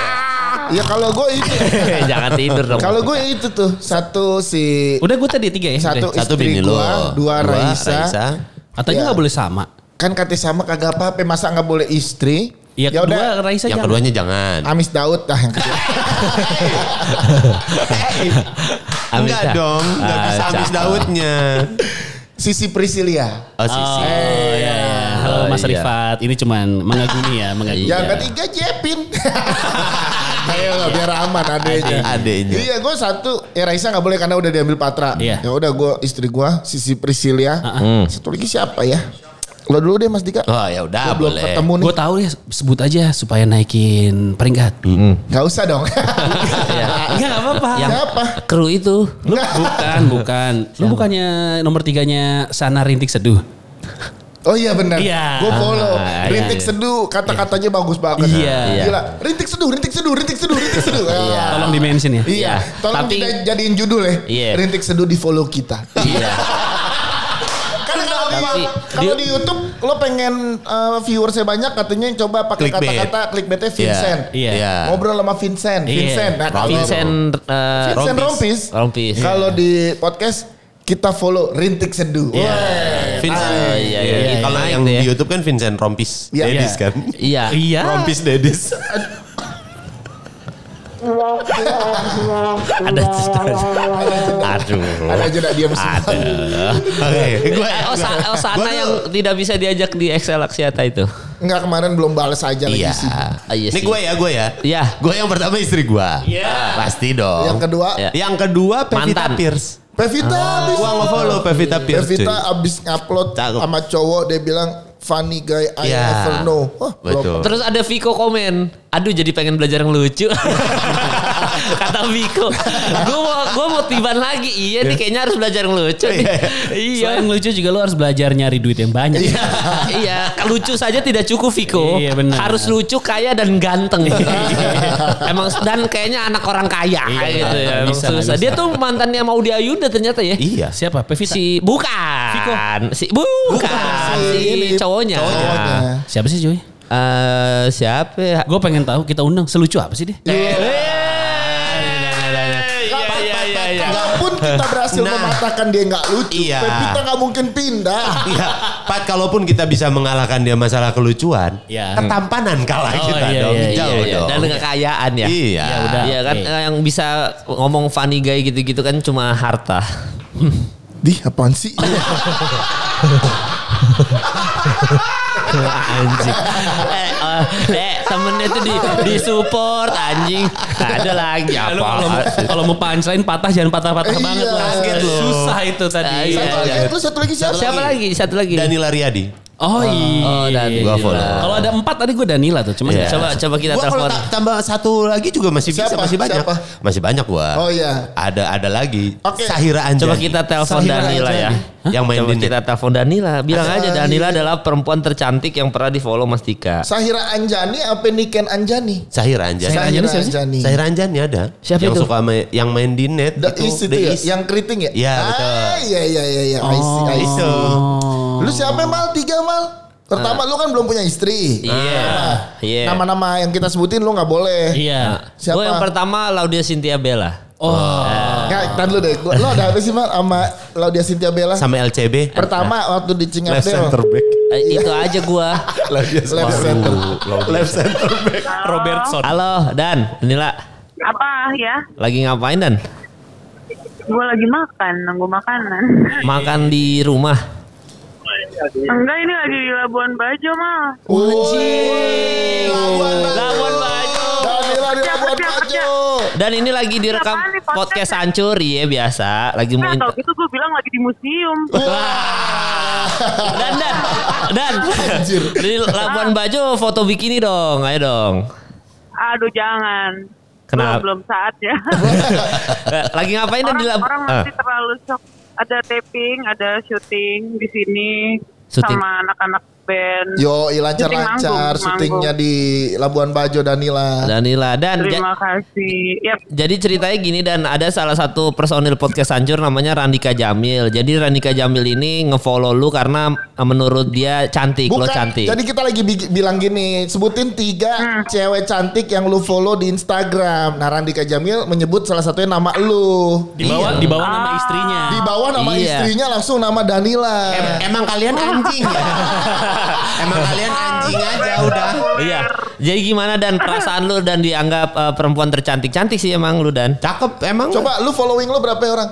[SPEAKER 1] Ya kalau gue itu,
[SPEAKER 4] Jangan tidur dong.
[SPEAKER 1] kalau gue itu tuh satu si
[SPEAKER 2] Udah gue tadi tiga ya.
[SPEAKER 1] satu,
[SPEAKER 2] udah.
[SPEAKER 3] Satu
[SPEAKER 1] istri
[SPEAKER 3] bini lo.
[SPEAKER 1] gua, dua, Raisa.
[SPEAKER 2] Katanya
[SPEAKER 1] Iya.
[SPEAKER 2] nggak boleh sama.
[SPEAKER 1] Kan kata sama kagak apa-apa masa nggak boleh istri.
[SPEAKER 2] Iya,
[SPEAKER 1] Ya
[SPEAKER 2] kedua
[SPEAKER 1] udah
[SPEAKER 3] Yang
[SPEAKER 2] Raisa jangan.
[SPEAKER 3] keduanya jangan.
[SPEAKER 1] Amis Daud dah yang kedua.
[SPEAKER 4] Amis
[SPEAKER 3] Eh, Enggak
[SPEAKER 4] dah.
[SPEAKER 3] dong. Enggak
[SPEAKER 4] Ah,
[SPEAKER 3] bisa habis
[SPEAKER 4] cakep.
[SPEAKER 3] Daudnya.
[SPEAKER 1] Sisi Priscilia.
[SPEAKER 3] Oh, sisi.
[SPEAKER 2] Oh iya. Halo Mas
[SPEAKER 4] Oh, iya.
[SPEAKER 2] Rifat, ini cuman mengagumi ya, mengagumi.
[SPEAKER 1] Yang
[SPEAKER 4] Iya.
[SPEAKER 1] ketiga Jepin. Ayo lah biar aman adanya.
[SPEAKER 3] Adeknya.
[SPEAKER 1] Iya gue satu ya Raisa nggak boleh karena udah diambil Patra.
[SPEAKER 2] Iya.
[SPEAKER 1] Ya udah gue istri gue Sisi Priscilia. Hmm. Satu lagi siapa ya? Lo dulu deh Mas Dika.
[SPEAKER 3] Oh ya udah
[SPEAKER 1] Gua belum
[SPEAKER 3] boleh.
[SPEAKER 1] ketemu nih.
[SPEAKER 2] Gue tahu ya, sebut aja supaya naikin peringkat.
[SPEAKER 1] Gak usah dong.
[SPEAKER 2] Enggak enggak apa-apa.
[SPEAKER 1] Siapa?
[SPEAKER 4] Iya. Kru itu.
[SPEAKER 2] Lu bukan, bukan. Lu bukannya nomor tiganya Sana Rintik Seduh.
[SPEAKER 1] Oh iya benar.
[SPEAKER 2] Iya.
[SPEAKER 1] Gue follow.
[SPEAKER 4] Ah, iya,
[SPEAKER 1] Rintik
[SPEAKER 4] iya.
[SPEAKER 1] seduh kata-katanya bagus banget.
[SPEAKER 2] Iya.
[SPEAKER 1] Gila. Rintik seduh, rintik seduh, rintik seduh, rintik seduh. Iya.
[SPEAKER 2] Tolong di mention ya.
[SPEAKER 1] Iya. Tolong
[SPEAKER 4] Tapi-
[SPEAKER 1] kita jadiin judul ya.
[SPEAKER 4] Iya.
[SPEAKER 1] Rintik seduh di follow kita.
[SPEAKER 4] Iya.
[SPEAKER 1] Kan kalau di,
[SPEAKER 4] Tapi-
[SPEAKER 1] kalau di YouTube lo pengen uh, viewersnya banyak katanya yang coba pakai
[SPEAKER 3] Clickbait.
[SPEAKER 1] kata-kata clickbaitnya Vincent.
[SPEAKER 2] Iya.
[SPEAKER 1] Ngobrol sama Vincent,
[SPEAKER 2] Iya.
[SPEAKER 1] Vincent. Nah, kalau
[SPEAKER 4] Vincent. eh,
[SPEAKER 1] Vincent Rompis.
[SPEAKER 4] Rompis.
[SPEAKER 1] Kalau di podcast kita follow Rintik Seduh.
[SPEAKER 3] Iya.
[SPEAKER 1] Wah.
[SPEAKER 3] Eh, Vincent.
[SPEAKER 4] Oh, iya, iya, iya.
[SPEAKER 3] Kalau
[SPEAKER 4] Naik
[SPEAKER 3] yang
[SPEAKER 4] tuh ya.
[SPEAKER 3] di YouTube kan Vincent Rompis.
[SPEAKER 1] Iya.
[SPEAKER 3] Dedis
[SPEAKER 1] Iya.
[SPEAKER 3] kan.
[SPEAKER 4] Iya.
[SPEAKER 2] Iya.
[SPEAKER 3] Rompis Dedis.
[SPEAKER 4] Ada cerita. Aduh.
[SPEAKER 1] Ada jeda diam semua.
[SPEAKER 3] Oke, gue
[SPEAKER 4] Eh, oh, Sa- oh,
[SPEAKER 3] Gua
[SPEAKER 4] Sana
[SPEAKER 3] tuh-
[SPEAKER 4] yang tidak bisa diajak di Excel Axiata itu.
[SPEAKER 1] Enggak kemarin belum balas aja lagi
[SPEAKER 3] Iya.
[SPEAKER 1] sih.
[SPEAKER 4] Ah, iya
[SPEAKER 3] Ini
[SPEAKER 4] sih.
[SPEAKER 3] gue ya, gue ya.
[SPEAKER 4] Iya.
[SPEAKER 3] Gue yang pertama istri gue. Iya. Pasti dong.
[SPEAKER 1] Yang kedua
[SPEAKER 4] Iya.
[SPEAKER 3] Yang kedua Pevita
[SPEAKER 4] Mantan.
[SPEAKER 3] Pierce.
[SPEAKER 1] Pevita abis.
[SPEAKER 3] Gua nge-follow Pevita Pierce.
[SPEAKER 1] Pevita
[SPEAKER 3] cuy.
[SPEAKER 1] abis ngupload
[SPEAKER 3] Cakep.
[SPEAKER 1] sama cowok dia bilang funny guy I
[SPEAKER 4] Ya.
[SPEAKER 1] ever know. Wah,
[SPEAKER 3] Betul.
[SPEAKER 4] Terus ada Viko komen, aduh jadi pengen belajar yang lucu. Kata Viko, gue mau, gua mau tiban lagi. Iya nih kayaknya harus belajar yang lucu. nih." iya.
[SPEAKER 2] Selain lucu juga lu harus belajar nyari duit yang banyak.
[SPEAKER 4] iya, lucu saja tidak cukup Viko.
[SPEAKER 2] Iya, benar.
[SPEAKER 4] Harus lucu, kaya dan ganteng. Emang dan kayaknya anak orang kaya gitu ya. Emang
[SPEAKER 2] bisa,
[SPEAKER 4] susah.
[SPEAKER 2] bisa.
[SPEAKER 4] Dia tuh mantannya mau Ayunda ternyata ya.
[SPEAKER 3] Iya.
[SPEAKER 2] Siapa? Pevita.
[SPEAKER 4] Si bukan.
[SPEAKER 2] Viko.
[SPEAKER 4] Si bukan, si,
[SPEAKER 1] ini,
[SPEAKER 4] cowoknya.
[SPEAKER 1] cowoknya.
[SPEAKER 2] Siapa sih cuy?
[SPEAKER 4] Eh, siapa? ya?
[SPEAKER 2] Gue pengen tahu kita undang selucu apa sih dia?
[SPEAKER 4] Iya, iya,
[SPEAKER 1] Enggak pun kita berhasil
[SPEAKER 3] Nah.
[SPEAKER 1] mematahkan dia nggak lucu.
[SPEAKER 3] Iya.
[SPEAKER 1] Pepita nggak mungkin pindah.
[SPEAKER 3] Iya, Pat kalaupun kita bisa mengalahkan dia masalah kelucuan,
[SPEAKER 2] Iya.
[SPEAKER 3] ketampanan kalah
[SPEAKER 2] Oh,
[SPEAKER 3] kita
[SPEAKER 2] iya,
[SPEAKER 3] dong.
[SPEAKER 2] iya, iya,
[SPEAKER 3] Jauh
[SPEAKER 4] Iya,
[SPEAKER 3] dong.
[SPEAKER 4] dan kekayaan ya.
[SPEAKER 3] Iya.
[SPEAKER 2] Ya udah.
[SPEAKER 4] Iya kan
[SPEAKER 2] oke.
[SPEAKER 4] eh, yang bisa ngomong funny guy gitu-gitu kan cuma harta.
[SPEAKER 1] Di apaan sih?
[SPEAKER 4] anjing. Eh, eh, eh, temennya tuh di di support anjing. Ada lagi
[SPEAKER 2] Ya, lu
[SPEAKER 4] apa?
[SPEAKER 2] kalau mau- kalau mau punchline patah jangan patah-patah
[SPEAKER 1] Iya.
[SPEAKER 2] banget lah.
[SPEAKER 1] Kaget
[SPEAKER 3] lu.
[SPEAKER 2] Susah itu tadi.
[SPEAKER 4] Iya,
[SPEAKER 1] Satu lagi,
[SPEAKER 4] iya.
[SPEAKER 1] terus satu lagi siapa?
[SPEAKER 4] Siapa lagi? Satu lagi.
[SPEAKER 3] Danila Riyadi.
[SPEAKER 2] Oh iya.
[SPEAKER 4] Oh, Danila.
[SPEAKER 3] Gua follow.
[SPEAKER 2] Kalau ada empat tadi gue Danila tuh. Cuma
[SPEAKER 3] Iya.
[SPEAKER 4] Coba coba kita
[SPEAKER 3] Gua kalau
[SPEAKER 4] telepon.
[SPEAKER 3] ta- tambah satu lagi juga masih bisa,
[SPEAKER 1] Siapa?
[SPEAKER 3] masih banyak.
[SPEAKER 1] Siapa?
[SPEAKER 3] Masih banyak gua.
[SPEAKER 1] Oh, iya.
[SPEAKER 3] Ada ada lagi.
[SPEAKER 1] Oke.
[SPEAKER 3] Sahira Anjani.
[SPEAKER 4] Coba kita telepon
[SPEAKER 1] Sahira
[SPEAKER 4] Danila
[SPEAKER 1] aja
[SPEAKER 4] ya.
[SPEAKER 1] nih.
[SPEAKER 4] Hah?
[SPEAKER 3] Yang main
[SPEAKER 4] Coba
[SPEAKER 3] Dindik.
[SPEAKER 4] kita telepon Danila. Bilang aja
[SPEAKER 1] Sahira.
[SPEAKER 4] Danila adalah perempuan tercantik yang pernah di follow Mas Tika.
[SPEAKER 1] Sahira Anjani apa Niken Anjani?
[SPEAKER 3] Ya, Sahira Anjani.
[SPEAKER 2] Sahira Anjani siapa sih?
[SPEAKER 1] Anjani.
[SPEAKER 3] Sahira Anjani ada.
[SPEAKER 4] Siapa
[SPEAKER 3] yang
[SPEAKER 4] itu?
[SPEAKER 3] suka main, yang main di net
[SPEAKER 1] The East itu
[SPEAKER 3] The
[SPEAKER 1] ya?
[SPEAKER 3] East.
[SPEAKER 1] Yang keriting ya?
[SPEAKER 3] Iya, betul.
[SPEAKER 1] Ah, iya, iya, iya. iya. I see, I see.
[SPEAKER 3] Itu.
[SPEAKER 1] Lu siapa Mal? Tiga Mal? Pertama lu kan belum punya istri.
[SPEAKER 4] Iya. Iya.
[SPEAKER 1] Nama-nama yang kita sebutin lu nggak boleh.
[SPEAKER 2] Iya.
[SPEAKER 1] Siapa?
[SPEAKER 4] Gue yang pertama Laudia Cynthia Bella.
[SPEAKER 2] Oh.
[SPEAKER 1] Nah, Nggak, ntar lu deh. Gua- Lu ada apa sih Mal sama Laudia Cynthia Bella?
[SPEAKER 3] Sama LCB.
[SPEAKER 1] Pertama waktu di
[SPEAKER 3] Left
[SPEAKER 1] Cingapdel.
[SPEAKER 3] center back.
[SPEAKER 4] Eh, itu aja gua.
[SPEAKER 1] Left center.
[SPEAKER 3] Left center back.
[SPEAKER 2] Robertson.
[SPEAKER 4] Halo Dan, Danila.
[SPEAKER 5] apa ya
[SPEAKER 4] Lagi ngapain Dan?
[SPEAKER 5] gue lagi makan nunggu makanan
[SPEAKER 4] Makan di rumah. Iya.
[SPEAKER 5] enggak ini lagi di Labuan Bajo mal Nah,
[SPEAKER 1] Wih, Labuan Bajo.
[SPEAKER 4] Labuan Bajo.
[SPEAKER 1] Danila di Labuan
[SPEAKER 5] Siapa, siapa,
[SPEAKER 1] Bajo.
[SPEAKER 4] Dan ini lagi direkam
[SPEAKER 5] Apaan nih podcastnya?
[SPEAKER 4] podcast hancur ya biasa. Lagi mau
[SPEAKER 5] nah kalau
[SPEAKER 4] inter-
[SPEAKER 5] gitu gue bilang lagi di museum
[SPEAKER 4] Oh. Dan Dan Dan.
[SPEAKER 1] Anjir.
[SPEAKER 4] Di Labuan Bajo foto bikini dong, ayo dong.
[SPEAKER 5] aduh jangan
[SPEAKER 4] Kenapa?
[SPEAKER 5] belum, belum saatnya
[SPEAKER 4] Eh, Lagi ngapain Dan
[SPEAKER 5] orang,
[SPEAKER 4] di Ah. Labuan?
[SPEAKER 5] orang masih terlalu shock ada taping ada syuting di sini
[SPEAKER 4] Syuting.
[SPEAKER 5] sama anak-anak band
[SPEAKER 1] Yo,
[SPEAKER 5] Syuting
[SPEAKER 1] lancar-lancar
[SPEAKER 5] manggung,
[SPEAKER 1] syutingnya di Labuan Bajo Danila.
[SPEAKER 4] Danila dan ja-
[SPEAKER 5] terima kasih Ya, yep
[SPEAKER 4] Jadi ceritanya gini dan ada salah satu personil podcast hancur namanya Randika Jamil. Jadi Randika Jamil ini ngefollow lu karena eh, menurut dia cantik, lo cantik.
[SPEAKER 1] Jadi kita lagi bi- bilang gini, sebutin
[SPEAKER 5] Hmm.
[SPEAKER 1] tiga cewek cantik yang lu follow di Instagram. Nah, Randika Jamil menyebut salah satunya nama lu.
[SPEAKER 2] Di bawah di bawah nama istrinya.
[SPEAKER 1] Di bawah nama
[SPEAKER 4] Iya.
[SPEAKER 1] istrinya langsung nama Danila.
[SPEAKER 3] Em- emang kalian anjing ya? emang kalian anjing aja udah.
[SPEAKER 4] Iya. Jadi gimana dan perasaan lu dan dianggap eh, perempuan tercantik-cantik sih emang lu dan?
[SPEAKER 3] Cakep emang.
[SPEAKER 1] Coba lu following lu berapa orang?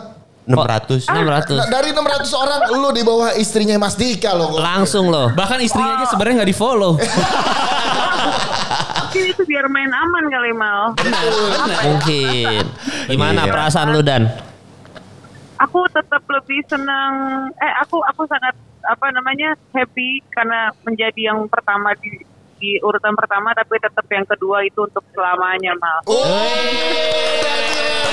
[SPEAKER 3] 600.
[SPEAKER 4] 600.
[SPEAKER 1] Nah, dari 600 orang lu di bawah istrinya Mas Dika loh.
[SPEAKER 4] Langsung loh.
[SPEAKER 2] Bahkan istrinya aja sebenarnya nggak di follow.
[SPEAKER 4] Ah.
[SPEAKER 5] mungkin itu biar main aman kali mal
[SPEAKER 4] Mungkin.
[SPEAKER 2] Iya.
[SPEAKER 4] Gimana perasaan lu dan?
[SPEAKER 5] aku tetap lebih senang eh aku aku sangat apa namanya happy karena menjadi yang pertama di di urutan pertama tapi tetap yang kedua itu untuk selamanya mal
[SPEAKER 1] Oh,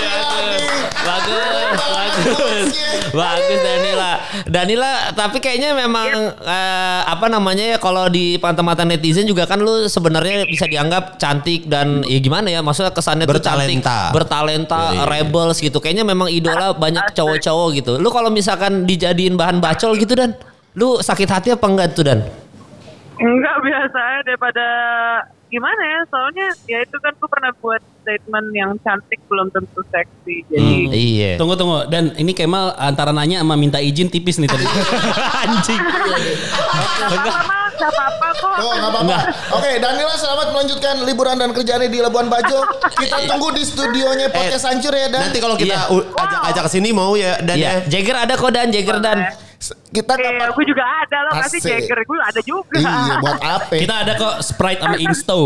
[SPEAKER 1] Danila
[SPEAKER 4] Bagus, bagus. Bagus Danila. Danila, tapi kayaknya memang eh, apa namanya ya kalau di mata netizen juga kan lu sebenarnya bisa dianggap cantik dan ya gimana ya maksudnya kesannya tuh
[SPEAKER 3] Bertalenta.
[SPEAKER 4] cantik, bertalenta,
[SPEAKER 3] Iya.
[SPEAKER 4] rebels gitu. Kayaknya memang idola banyak cowok-cowok gitu. Lu kalau misalkan dijadiin bahan bacol gitu dan lu sakit hati apa enggak tuh dan?
[SPEAKER 5] enggak biasa ya, daripada gimana ya soalnya ya itu kan aku pernah buat statement yang cantik belum tentu seksi jadi
[SPEAKER 4] Iya.
[SPEAKER 2] Hmm. Tunggu tunggu dan ini Kemal antara nanya sama minta izin tipis nih tadi. Anjing.
[SPEAKER 5] apa apa nggak apa apa kok
[SPEAKER 1] Oh, nggak apa-apa.
[SPEAKER 3] Nah.
[SPEAKER 1] Oke, Danila selamat melanjutkan liburan dan kerjaannya di Labuan Bajo. Kita tunggu di studionya Podcast Hancur ya, Dan.
[SPEAKER 3] Eh. Nanti kalau kita u- ajak-ajak ke sini mau ya dan
[SPEAKER 4] Iya,
[SPEAKER 3] ya.
[SPEAKER 4] Jagger ada kok dan Jagger dan.
[SPEAKER 1] S- Kita
[SPEAKER 5] Eh,
[SPEAKER 1] kapan?
[SPEAKER 5] aku juga ada loh kasih
[SPEAKER 1] Asik.
[SPEAKER 5] Jagger gue ada juga
[SPEAKER 1] Iya, buat apa?
[SPEAKER 2] Kita ada kok Sprite sama Insto.